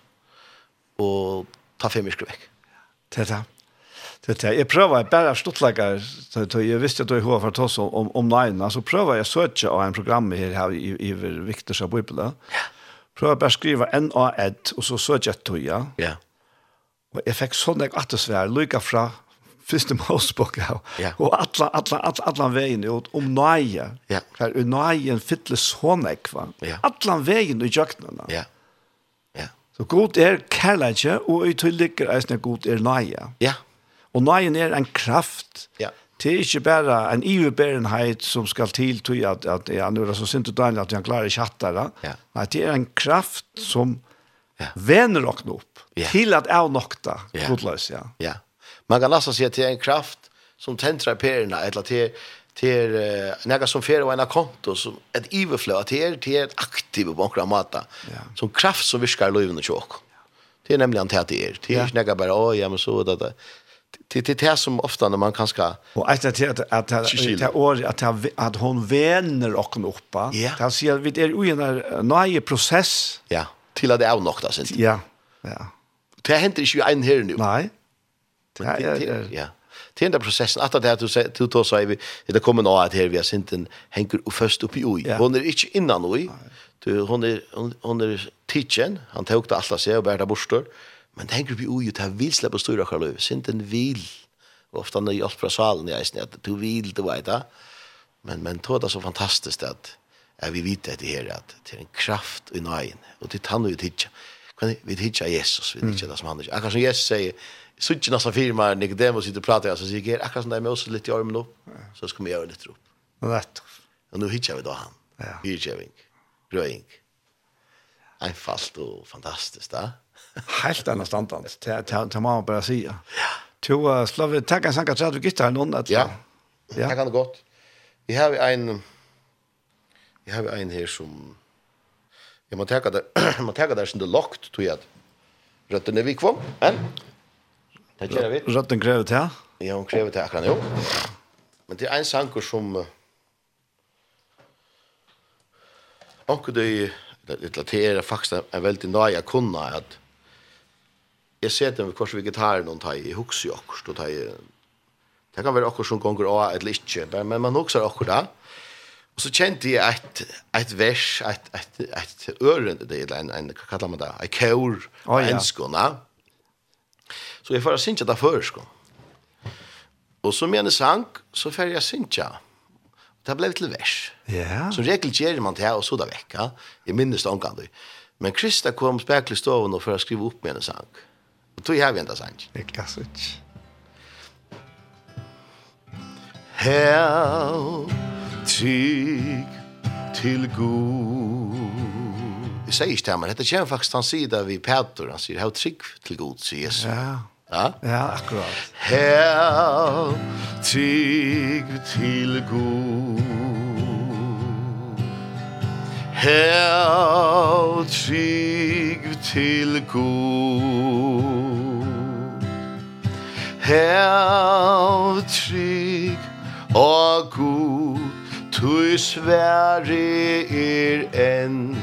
Speaker 3: Och ta fem mysklen veck.
Speaker 2: det er det. Det er det. Jeg prøver bare av stortlegger, jeg visste at du var for oss om, om, om neina, så prøver jeg å søke av en program her, her i, i, i Viktors av Bibelen. Ja. Prøver bare å skrive N-A-Ed, og så søker jeg tog, ja.
Speaker 3: Ja.
Speaker 2: Og jeg fikk sånn jeg atesvær, lykka fra første målspåk, ja.
Speaker 3: Ja.
Speaker 2: og alle, alle, alle, alle veien ut om nøye.
Speaker 3: Ja.
Speaker 2: Her, og nøyen fytler sånn jeg, va?
Speaker 3: Ja.
Speaker 2: Alle veien i jøknene.
Speaker 3: Ja. Ja.
Speaker 2: Så god er kærlighet, og i tillegger er sånn god er nøye.
Speaker 3: Ja.
Speaker 2: Og nøyen er en kraft.
Speaker 3: Ja.
Speaker 2: Det er ikke bare en iverbærenhet som skal til til at, at ja, nå er det så sint og deilig at han klarer ikke hatt det.
Speaker 3: Ja.
Speaker 2: Nei, det er en kraft som
Speaker 3: Ja.
Speaker 2: vener dere opp
Speaker 3: Ja.
Speaker 2: til at jeg nokta,
Speaker 3: Ja.
Speaker 2: godløs, ja.
Speaker 3: Ja. Man kan nästan säga att det är en kraft som tändrar perna eller till till uh, några som fer och ena konto som ett överflöd att det är till ett aktivt på några mata.
Speaker 2: Ja.
Speaker 3: Som kraft som viskar löven och tjock. Det er är nämligen till att det är. Det er är
Speaker 2: Ja.
Speaker 3: inte några bara oj, ja men så er det det det det är som ofta när man kan ska
Speaker 2: Og etter til at at at
Speaker 3: Cecilia.
Speaker 2: at år at at at hon vänner och oppa.
Speaker 3: Ja.
Speaker 2: Han sier vi er ju en ny prosess.
Speaker 3: ja, till att det er är något alltså.
Speaker 2: Ja. Ja.
Speaker 3: Det händer inte ju en här nu.
Speaker 2: Nei. Det
Speaker 3: Ja,
Speaker 2: er,
Speaker 3: ja,
Speaker 2: er-
Speaker 3: ja. Det är den processen att det här du säger du tar så är vi det kommer nå att här vi har synten hänger och först upp i oj.
Speaker 2: Ja.
Speaker 3: Hon är inte innan oj. Du hon är hon- hon er är teachern. Han tog det alla sig och bärda borstor. Men det hänger upp i oj det här vill släppa stora själva. Synten vill. Och ofta när jag från salen jag är att du vill du vet det. Men men tror det är så fantastiskt att är vi vet det här att det är en kraft i nöjen och det han ju titta. Kan vi titta Jesus, vi titta det som han. Jag kanske Jesus säger Suttje nästan firma Nicodemus sitter och pratar jag så säger jag akkurat som där med oss lite i armen upp så ska vi göra lite upp.
Speaker 2: Nett.
Speaker 3: Och nu hittar vi då han.
Speaker 2: Ja.
Speaker 3: Hyrkjöving. Gröing. Einfalt och fantastiskt. Da?
Speaker 2: Helt annet standard. Det er- det er- det må eh, man bare si. Ja. To uh, slå vi takk en sang at du gitter noen at.
Speaker 3: Ja.
Speaker 2: Ja.
Speaker 3: Det kan det gott. Jeg har en, jeg har en her som, jeg må teka det, jeg må teka det som det er lagt, tror jeg at røttene vi kvom, men, det gjør vi.
Speaker 2: Røtten krevet her.
Speaker 3: Ja, hun krever det akkurat nå. Men det er en sanger som eh, Onkur døy Littla te er faktisk en- en veldig nøye kunna at jeg ser dem hvers vegetar noen teg i hukse i okkurst og teg det kan være okkur som gonger av eller ikke men men man hukser okkur da og så kjente jeg et, et vers et, et, et øren det er en, en, hva kallar man det, en kjør
Speaker 2: Å, ja.
Speaker 3: en skona så jeg får synge det før sko og så mener sang så får jeg synge det ble til vers
Speaker 2: Ja.
Speaker 3: så regel gjør man det her, og så da vekk. Ja? Jeg minnes det omgående. Men Krista kom spekler stoven og for å skrive opp med en sang. Og tog jeg venta sang.
Speaker 2: Det klass ikke.
Speaker 3: Her tyg til god. Jeg sier ikke det, men dette kommer faktisk han sier det vi Peter. Han sier, her trygg til god, sier Jesus. Ja.
Speaker 2: Ja.
Speaker 3: ja?
Speaker 2: Ja, akkurat.
Speaker 3: Her tyg til god Her tyg til god Her tyg og god Tu svære er enn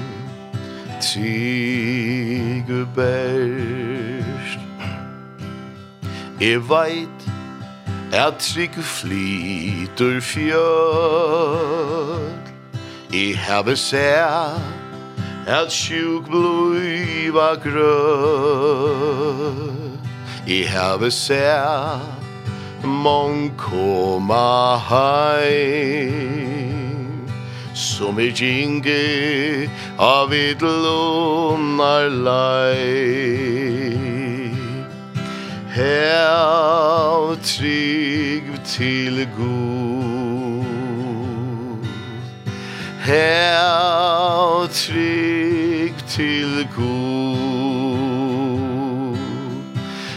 Speaker 3: Tyg berst Jeg veit at trygg flyter fjöll Jeg have sær at sjuk bluiva grøll Jeg have sær mong koma heim Som er ginge av et lunar leik Hev trygg til god Hev trygg til god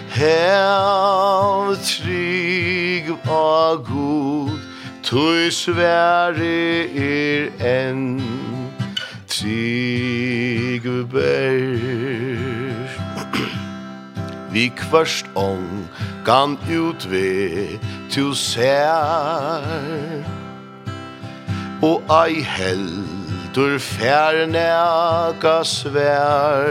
Speaker 3: Hev trygg og god Tui svære er enn Trygg berst Vi kvørst ong kan utve til sær Og ei heldur færnæka svær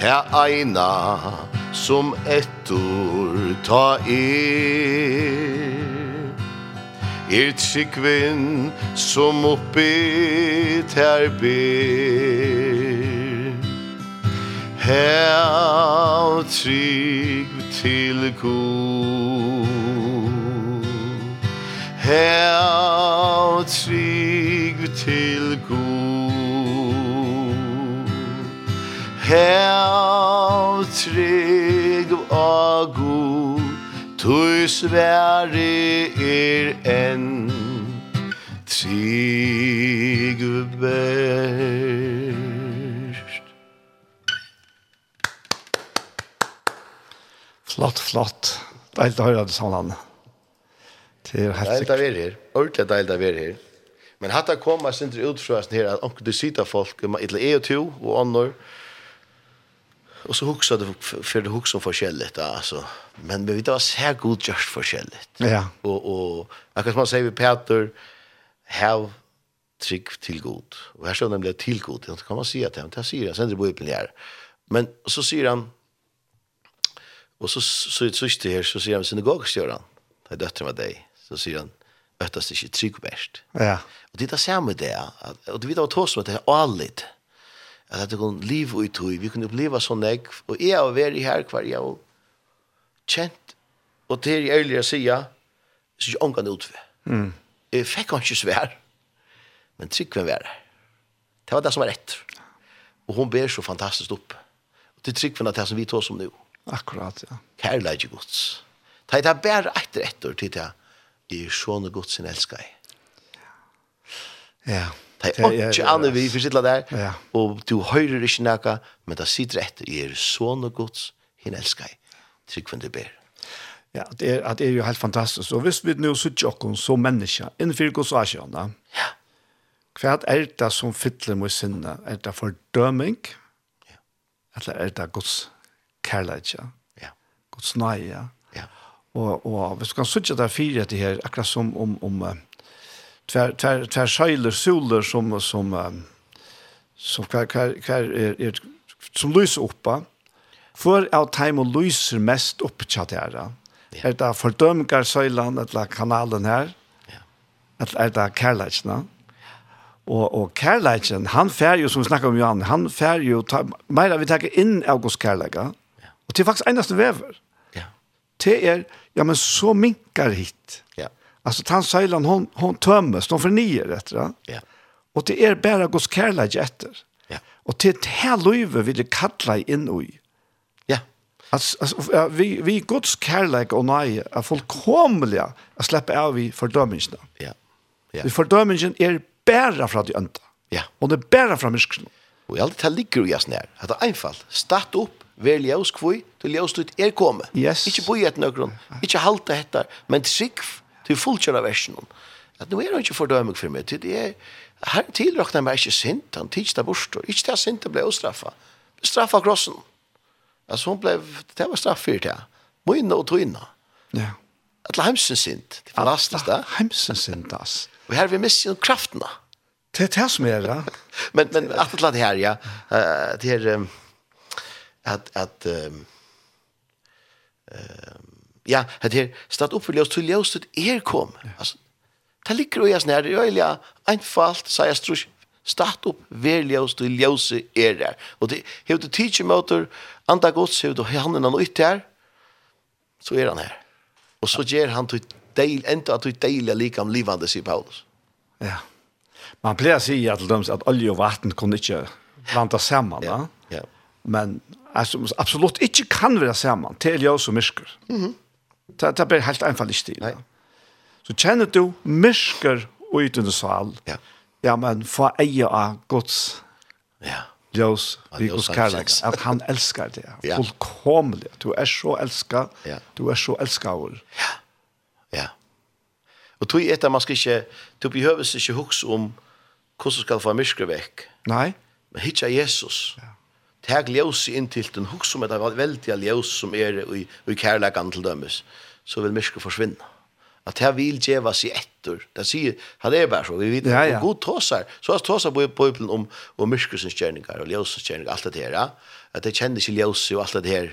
Speaker 3: Ta eina som ettor ta er Er tryggvinn som oppi ter ber Her trygg til god Her trygg til god Her trygg og god Tu svære er enn Trygg best
Speaker 2: Flott, flott. Deilig å høre det sammen. Det er helt
Speaker 3: Deilig å
Speaker 2: sikkert.
Speaker 3: være her. Ordentlig deilig å være her. Men hatt jeg koma sindri ut fra sånn her at onkel du sitter folk, eller jeg um og to og andre, og så huksa du, for du huksa om forskjellig, um da, altså. Men vi vet det var sær god just forskjellig.
Speaker 2: Ja.
Speaker 3: Og, og akkurat som han sier vi Peter, hev trygg til god. Og her står nemlig til god, det kan man si at det, er, men det sier han, sindri bor i her. Men så sier han, Og så så så sist her så sier han synagogstjøran. Det er døtteren var deg. Så sier han øttast ikke trygg best.
Speaker 2: Ja.
Speaker 3: Og det er det samme det. At, og det vi da tås med det er allit. At det kan liv og tog. Vi kunne oppleva sånn jeg. Og jeg har vært her hver jeg har kjent. Og til jeg ærligere sier, så er jeg ångan utved. Mm. Jeg fikk han ikke svær. Men trygg hvem var det. Det var det som var rett. Og hun ber så fantastisk opp. Og det er trygg hvem det som vi tås om nå
Speaker 2: Akkurat, ja.
Speaker 3: kærleik Guds. Ta i det bare etter etter til det. I sjåne Guds sin elskar jeg.
Speaker 2: Ja. er-
Speaker 3: Ta i åndsje annet vi forsittla der,
Speaker 2: Ja.
Speaker 3: og du høyrer ikke noe, men det sitter etter. I er sjåne Guds sin elskar jeg. Trygg for det ber.
Speaker 2: Ja, det er, at det er jo helt fantastisk. Og hvis vi nå sitter okken som mennesker, innenfor Guds asjon, ja. hva er det som fyller mot sinne? Er det fordøming?
Speaker 3: Ja.
Speaker 2: Eller er det Guds kærlighet, ja?
Speaker 3: Ja.
Speaker 2: Guds nøye, ja?
Speaker 3: Ja.
Speaker 2: Og, og hvis du kan sitte der fire til her, akkurat som om, om eh, tver, tver, tver søyler, soler som, som, eh, som, hver, hver, hver er, er, som lyser oppa, for av time og lyser mest opp til det her.
Speaker 3: Ja.
Speaker 2: Er det fordømmer søylen, eller kanalen her,
Speaker 3: Ja.
Speaker 2: eller er det kærleitsene? Og, og kærleitsen, han fær jo, som vi snakker om Johan, han fær jo, ta, meira vi takker inn August kærleika, og til faktisk eneste vever
Speaker 3: Ja.
Speaker 2: det er, ja, men så minkar hit.
Speaker 3: Ja.
Speaker 2: Alltså han Seilan, hon, hon tömmes, de förnyar efter det.
Speaker 3: Ja.
Speaker 2: Och det är bara Guds kärlek efter.
Speaker 3: Ja.
Speaker 2: Och till det här livet vill det kalla in i.
Speaker 3: Ja.
Speaker 2: Alltså, alltså, ja, vi, vi är Guds kärlek och nej är fullkomliga att släppa av i fördömningen.
Speaker 3: Ja.
Speaker 2: Ja. Fördömningen är bara från det önta.
Speaker 3: Ja.
Speaker 2: Och det är bara från myrskan.
Speaker 3: Og alt det ligger i jasnær. At det er einfalt. Start opp, vær ljøs kvøy, til ljøs ut er komme.
Speaker 2: Yes.
Speaker 3: Ikke boi et nøkron, ikke halte hettar, men trygg til fullkjøra versjonen. At nå er han ikke fordømig for meg. Det er, her tilrakna meg ikke sint, han tids der borster. Ikke til at sint ble straffa. Straffa krossen. Altså hun ble, det var straff for det. Moina og toina.
Speaker 2: Ja.
Speaker 3: Atle heimsens sint. Det er
Speaker 2: Ah,
Speaker 3: fantastisk det.
Speaker 2: Hemsen syndas.
Speaker 3: Og her vil miste kraftene.
Speaker 2: Det är det som är det.
Speaker 3: men men att det här ja eh, det är ehm, att att ehm, ehm, ja det här stad upp för ljus till ljus det er kom alltså det ligger ju snär det är ja einfalt så jag strus start upp ver ljus till ljus är där och er det hur det teacher motor anda gods hur då han är ut där så är han här och så ger han till del ända till dela likam livande sig Paulus
Speaker 2: Ja. Man pleier å si at, de, at olje og vatten kunne ikke blanda sammen, ja.
Speaker 3: ja
Speaker 2: men altså, absolutt ikke kan være sammen, til ljøs og mysker. Det, det blir helt einfallig stil.
Speaker 3: Mhm. Nei.
Speaker 2: Ja. Så kjenner du mysker ut under sal,
Speaker 3: ja
Speaker 2: ja, men få eie av Guds
Speaker 3: ja
Speaker 2: ljøs,
Speaker 3: Ja,
Speaker 2: vi
Speaker 3: ljøs
Speaker 2: Guds
Speaker 3: han
Speaker 2: kærlighet,
Speaker 3: kjenner.
Speaker 2: at han elsker det,
Speaker 3: Ja.
Speaker 2: fullkomlig. Du er så elsket,
Speaker 3: Ja.
Speaker 2: du er så elsket over.
Speaker 3: Ja. Og er tog etter man skal ikke, du behøver ikke huske om hvordan du um skal få myskere vekk.
Speaker 2: Nei,
Speaker 3: Men hitja Jesus. Ja. Teg ljøse inn til um den, huske om et av veldige ljøs som er i, i kærleggen til dømes, så vil myskere forsvinne. At her vil djeva seg etter. Det sier, han er bare så, vi vet,
Speaker 2: Ja, ja.
Speaker 3: og god tåsar. Så han tåsar på Bibelen om, om myskelsens gjerninger og ljøsens gjerninger, alt det her, ja. At det kjenner ikke ljøse og alt det her.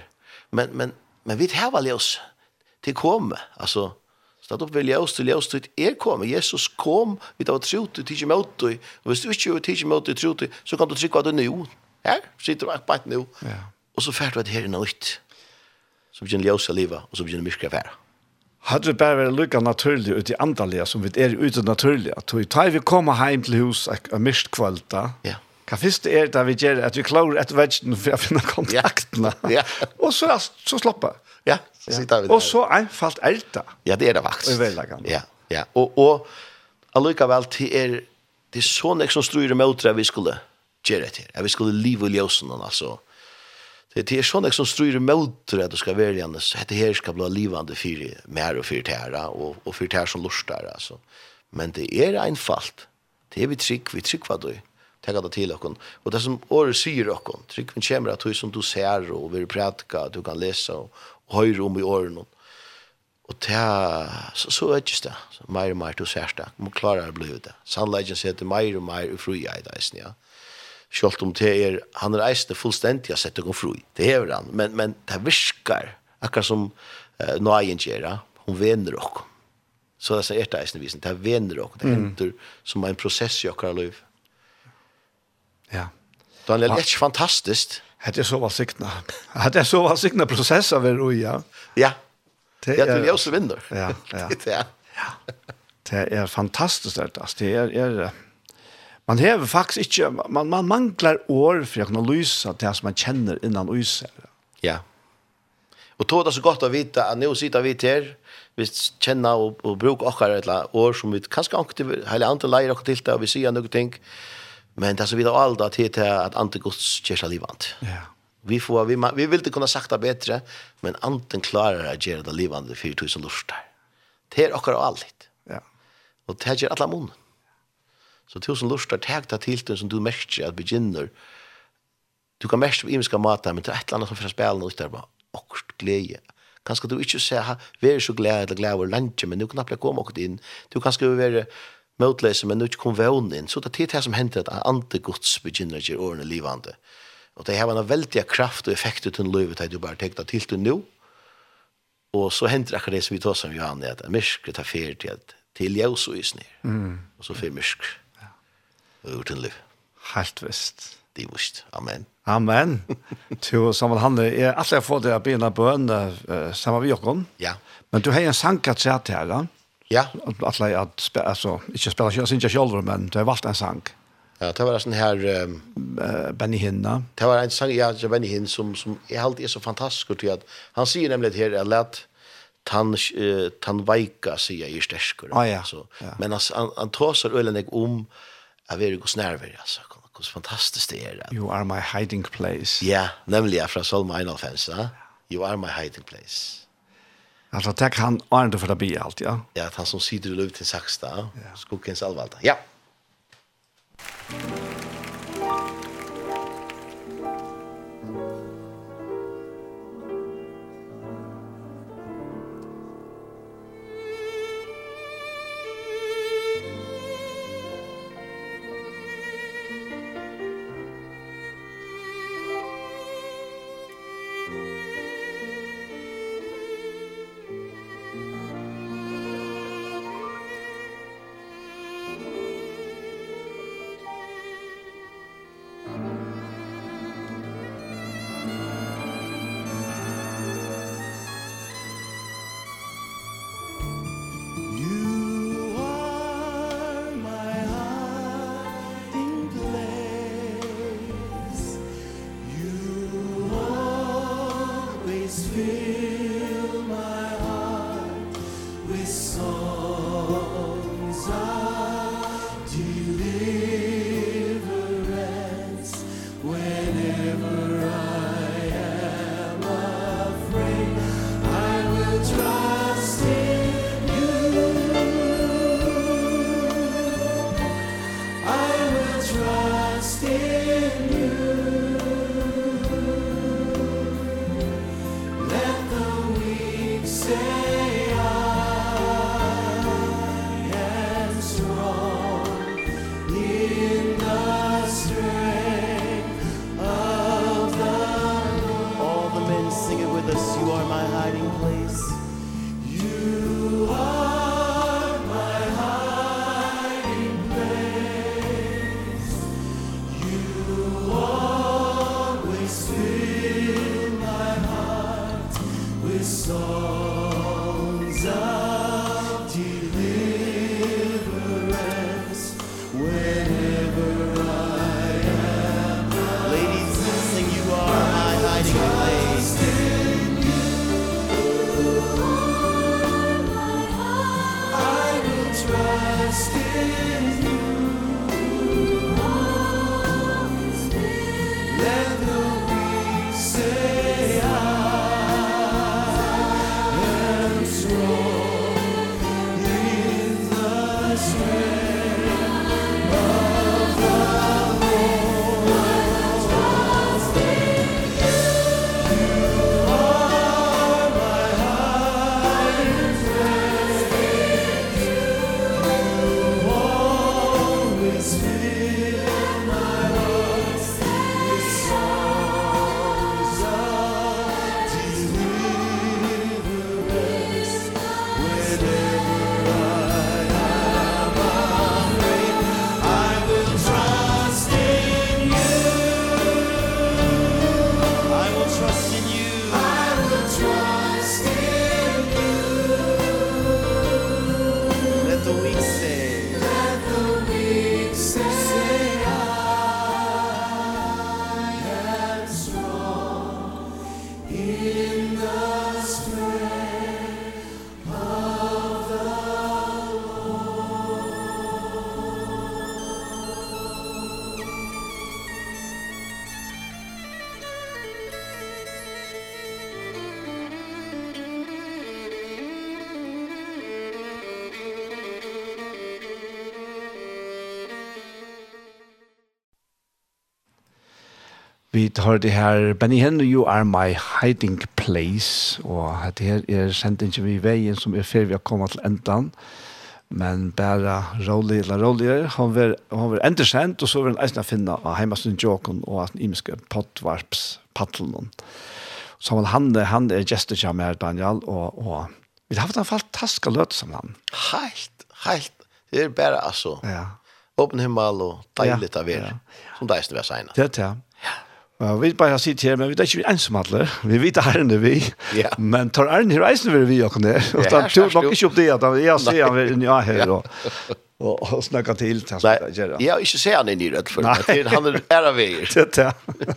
Speaker 3: Men, men, men vi tar ljøse til komme, altså, Stad opp ved ljøs til ljøs til er komme. Jesus kom, vi tar tro til tidsi møte. Og hvis du ikke er tidsi møte tro til, så kan du trykke at du nå. Her sitter du akkurat nå.
Speaker 2: Ja.
Speaker 3: Og så fært du at her er noe nytt. Så begynner ljøs av livet, og så begynner myskere fære.
Speaker 2: Hadde det bare vært lykka naturlig ut i andalega som vi er ute naturlig. Så i tar vi komme heim til hus og mist kvalta.
Speaker 3: Ja.
Speaker 2: Hva først er det vi gjør at vi klarer et vetsjen for å finne kontaktene.
Speaker 3: Ja.
Speaker 2: og så, er så slappa.
Speaker 3: Ja, så sitter vi der.
Speaker 2: Og så einfalt er det.
Speaker 3: Ja, det er det vaks.
Speaker 2: Og i veilegan.
Speaker 3: Ja, ja. Og, og allikevel, det er, det er sånn jeg som struer imot at vi skulle gjøre det her. At vi skulle live i ljøsen, altså. Det, det er sånn jeg som struer imot at du skal være igjen. så Dette her skal bli livende for mer og for tæra, og, og for tæra som lurstar, altså. Men det er einfalt. Det er vi trygg, vi trygg hva du Takk det til okken. Og det som året sier okken, tryggven kommer at du som du ser og vil prædika, du kan lese og, og høyre om i årene. Og ta, så, så er det det. Så Meir og meir til særsta. Man klarer å bli det. Sannleggen setter meir og meir og fri i deisen, ja. Sjølt om det er, han er eisende fullstendig å sette henne fri. Det er han. Men, men det virkar, akkurat som uh, nøyen gjør, ja. hun vener oss. Så det er det eisende visen. Det vener oss. Det henter som en prosess i akkurat liv.
Speaker 2: Ja.
Speaker 3: Daniel, det er ikke fantastisk.
Speaker 2: Hette jeg så valsikna. Hette jeg så valsikna prosess av er ui, ja.
Speaker 3: Ja,
Speaker 2: Det
Speaker 3: det er til Jøse vinner.
Speaker 2: Ja, ja.
Speaker 3: det er
Speaker 2: Det er fantastisk det. altså. Det er, er man hever faktisk ikke, man, man manglar år for å kunne lyse det som man kjenner innan lyser.
Speaker 3: Ja. Og er tog det så godt å vite at nå sitter vi her, vi kjenner og, og bruker okkar et eller annet år som vi kanskje anker hele andre leier okkar til det, og vi er sier noen ting. Men det som vi da aldri til til at andre gods kjører seg livant.
Speaker 2: Ja.
Speaker 3: Vi får vi ma- vi vill inte kunna sakta bättre, men anten klarar att göra det livande för tusen lustar. er Det är också allt.
Speaker 2: Ja.
Speaker 3: Och det gör alla mun. Så tusen lustar tag ta till det som du mest att begynner. Du kan mest i ska mata men det är ett eller annat som för spelen och där bara och glädje. Kanske du inte säga vara så glad eller glad över lunch men nu kan jag komma och in. Du kanske vara motläs men nu inte kom vån in. Så det är det som händer att ante Guds begynner att göra åren livande. Och det har en väldig kraft och effekt utan livet att du bara tänkte till det nu. Og så henter akkurat det som vi tar som Johan, at mysk tar fer til at til ljøs og isner. Mm. Og så fer mysk. Ja. Og uten liv.
Speaker 2: Helt visst.
Speaker 3: Det er vist. Amen.
Speaker 2: Amen. Til sammen han er alltid for det å bli en bøn eh, sammen med Jokon.
Speaker 3: Ja.
Speaker 2: Men du har en sang at se til her, eh? da.
Speaker 3: Ja,
Speaker 2: Alltid at, spe- altså, ikke spiller ikke, jeg synes ikke selv, men du har valgt en sang.
Speaker 3: ja det var sånn her, um,
Speaker 2: Eh, Benny Hinna.
Speaker 3: det var en sang jeg har vennet henne som, som jeg alltid er så fantastisk til at han sier nemlig her, jeg let tan, uh, tan veika sier jeg er sterskere.
Speaker 2: Ah, ja.
Speaker 3: Så,
Speaker 2: Ja.
Speaker 3: Men han, han, han tåser øyne om at vi er hos nerver, altså, hvordan fantastisk det er. At,
Speaker 2: You are my hiding place.
Speaker 3: ja, nemlig fra Solma 91, ja. You are my hiding place.
Speaker 2: Altså, det kan han ordentlig for å bli alt, ja.
Speaker 3: Ja, at han som sitter i løv til Saksta, skukkens alvalda. Ja.
Speaker 4: You are my hiding place. You always fill my heart with songs of deliverance. Whenever I am afraid, I will trust in you. I will trust in you. Let the
Speaker 2: Vi tar det her, Benny Henry, you are my hiding place, og det her er sendt ikke vi i veien som er ferdig å komme til endan, men bare rolig eller roligere. Han var, han var enda sendt, og så var han eisen å finne av hjemmestund Jokon og at imiske pottvarps paddelen. Så han, han, er- han er gestet som er Daniel, og, og vi har haft en fantastisk løte som han.
Speaker 3: Helt, helt. Det er bare, altså,
Speaker 2: Ja,
Speaker 3: åpen himmel og deilig
Speaker 2: Ja,
Speaker 3: av er. Som det er snøy sena.
Speaker 2: det er det. Og vi bare har sitt her, men vi er ikke ensom alle. Vi vet Arne vi.
Speaker 3: Ja.
Speaker 2: Men tar Arne her reisen vil vi åkne. Og
Speaker 3: Ja,
Speaker 2: da tog
Speaker 3: skjørs
Speaker 2: nok
Speaker 3: du.
Speaker 2: ikke opp det at han- jeg ser han vil inn i jeg her og, og, og snakke til. til han
Speaker 3: Nei,
Speaker 2: skal gjøre.
Speaker 3: jeg har ikke sett han i nyrødt for
Speaker 2: Nei.
Speaker 3: det. Han er ære veier.
Speaker 2: Det er det.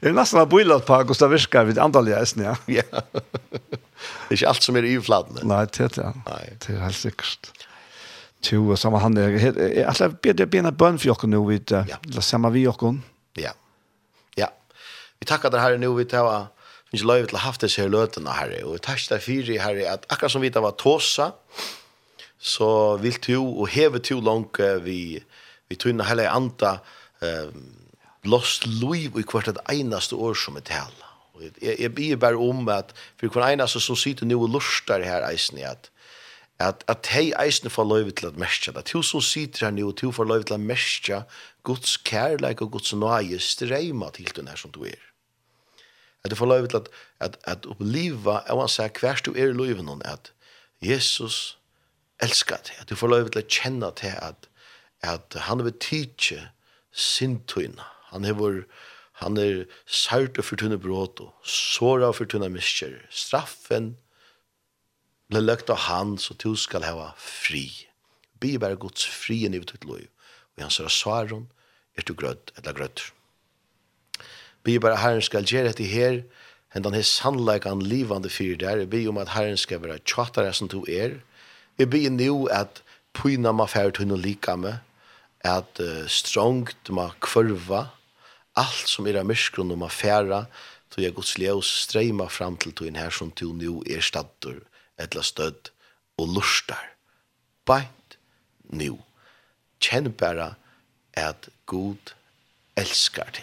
Speaker 2: Det er nesten en bøylet på Gustav Virka vid andre leisen, ja.
Speaker 3: Ja. Det er ikke alt som er i flatene.
Speaker 2: Nei, det er det.
Speaker 3: Nei.
Speaker 2: Det er helt sikkert. Jo, og sammen han er, jeg tror jeg bedre bena bønn for jokken nå, vi eh,
Speaker 3: Ja.
Speaker 2: la sammen vi jokken.
Speaker 3: Ja. Ja. Vi tackar dig herre nu vi tar finns löjligt att haft det här löten herre och vi tackar dig för herre att akkurat som vi tar var tåsa så vill du och häver du långt eh, vi vi tunna hela anta ehm lost liv i kvart ett enaste år som er ett hell. Och jag jag ber bara om att för kvar enaste som sitter nu och lustar här isen i att at at hei eisne får løyve til at merkja det. Til som sitter her nu, til får løyve til at merkja Guds kærleik og Guds nøye streima til den her som du er. At du får løyve til at, at, at oppleva, jeg vil si hver du er i løyve noen, at Jesus elskar deg. At du får løyve til at kjenne til at, at han vil tidsi sintøyna. Han hever han er sært og fortunne bråd og såra og fortunne miskjer. Straffen Le løgt av han, så du skal hava fri. Bi bare Guds frien i ditt liv. Og i hans er svaren, er du grødd eller grødd. Bi bare Herren skal gjøre dette her, hendan hans sannleikan livande fyr der. Jeg bi om at Herren skal være tjatare som du er. Jeg bi nu at pyna ma fært hun og lika med, at uh, strongt ma kvarva, alt som er av myskron og ma færa, så jeg Guds ljøs streima fram til tog inn her som du nu er stattor, etla stødd og lustar. Beint nu. Kjenn bare at Gud elskar det.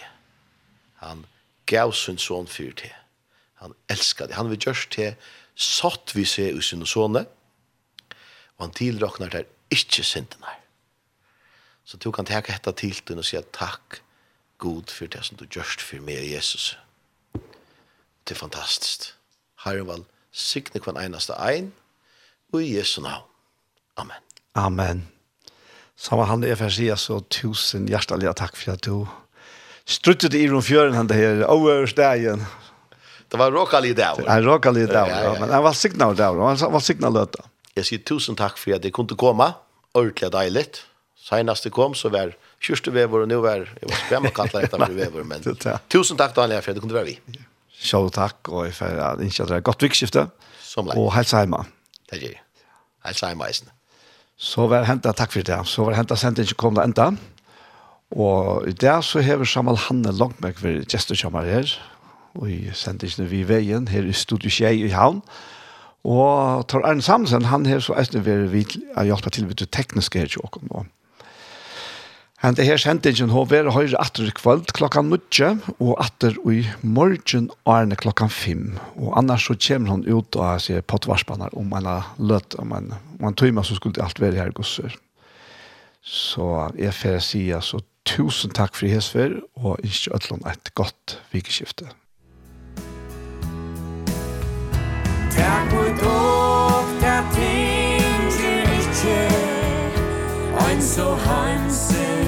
Speaker 3: Han gav sin son fyrir til. Han elskar det. Han vil gjørst til satt vi seg i sin sonne, og han tilraknar der ikkje syndene. Så du kan teka hetta til den og sier takk, God, for det som du gjørst for meg, Jesus. Det er fantastisk. Herren val, sikne kvann einaste ein, og i Jesu navn. Amen.
Speaker 2: Amen. Sammen han er for å si, så tusen hjertelig takk for at du struttet i rundt fjøren han det her, over stegen.
Speaker 3: Det er var råkall i dag.
Speaker 2: Han råkket litt der,
Speaker 3: Ja, ja, ja.
Speaker 2: men han var signalet der, og han var signalet løte.
Speaker 3: Jeg sier tusen takk for at jeg kunne komme. Ordentlig deilig. Senest jeg kom, så var kjørste vever, og nå var jeg var spennende å kalle dette for vever, men
Speaker 2: det er det.
Speaker 3: tusen takk, Daniel, for at jeg kunne være vi.
Speaker 2: Sjå takk, og jeg får at ikke at det er godt vikskifte,
Speaker 3: Som lei.
Speaker 2: og helse hjemme.
Speaker 3: Det er gjør jeg. Helt seg i meisen.
Speaker 2: Så var hentet, takk for det, så var hentet sendt ikke kom det enda. Og i dag så hever Samal Hanne langt meg for gestorkjommer her, og i sendt ikke vi i veien, her i Studio Kjei i Havn. Og Tor Arne Samsen, han har så eisne vært vidt å hjelpe til ved det tekniske her til åkken nå. Han det er her sendingen har vært høyre atter i kvöld klokkan 9 og atter i morgen Arne klokkan 5. Og annars så kommer han ut og ser pottvarspannar om en løt, om en, om en tøyma så skulle det alt være her gosser. Så jeg får si altså tusen takk for hesfer og ikke øtlån et godt vikeskifte.
Speaker 4: Takk og dog, der tinget ikke, ein so hansen er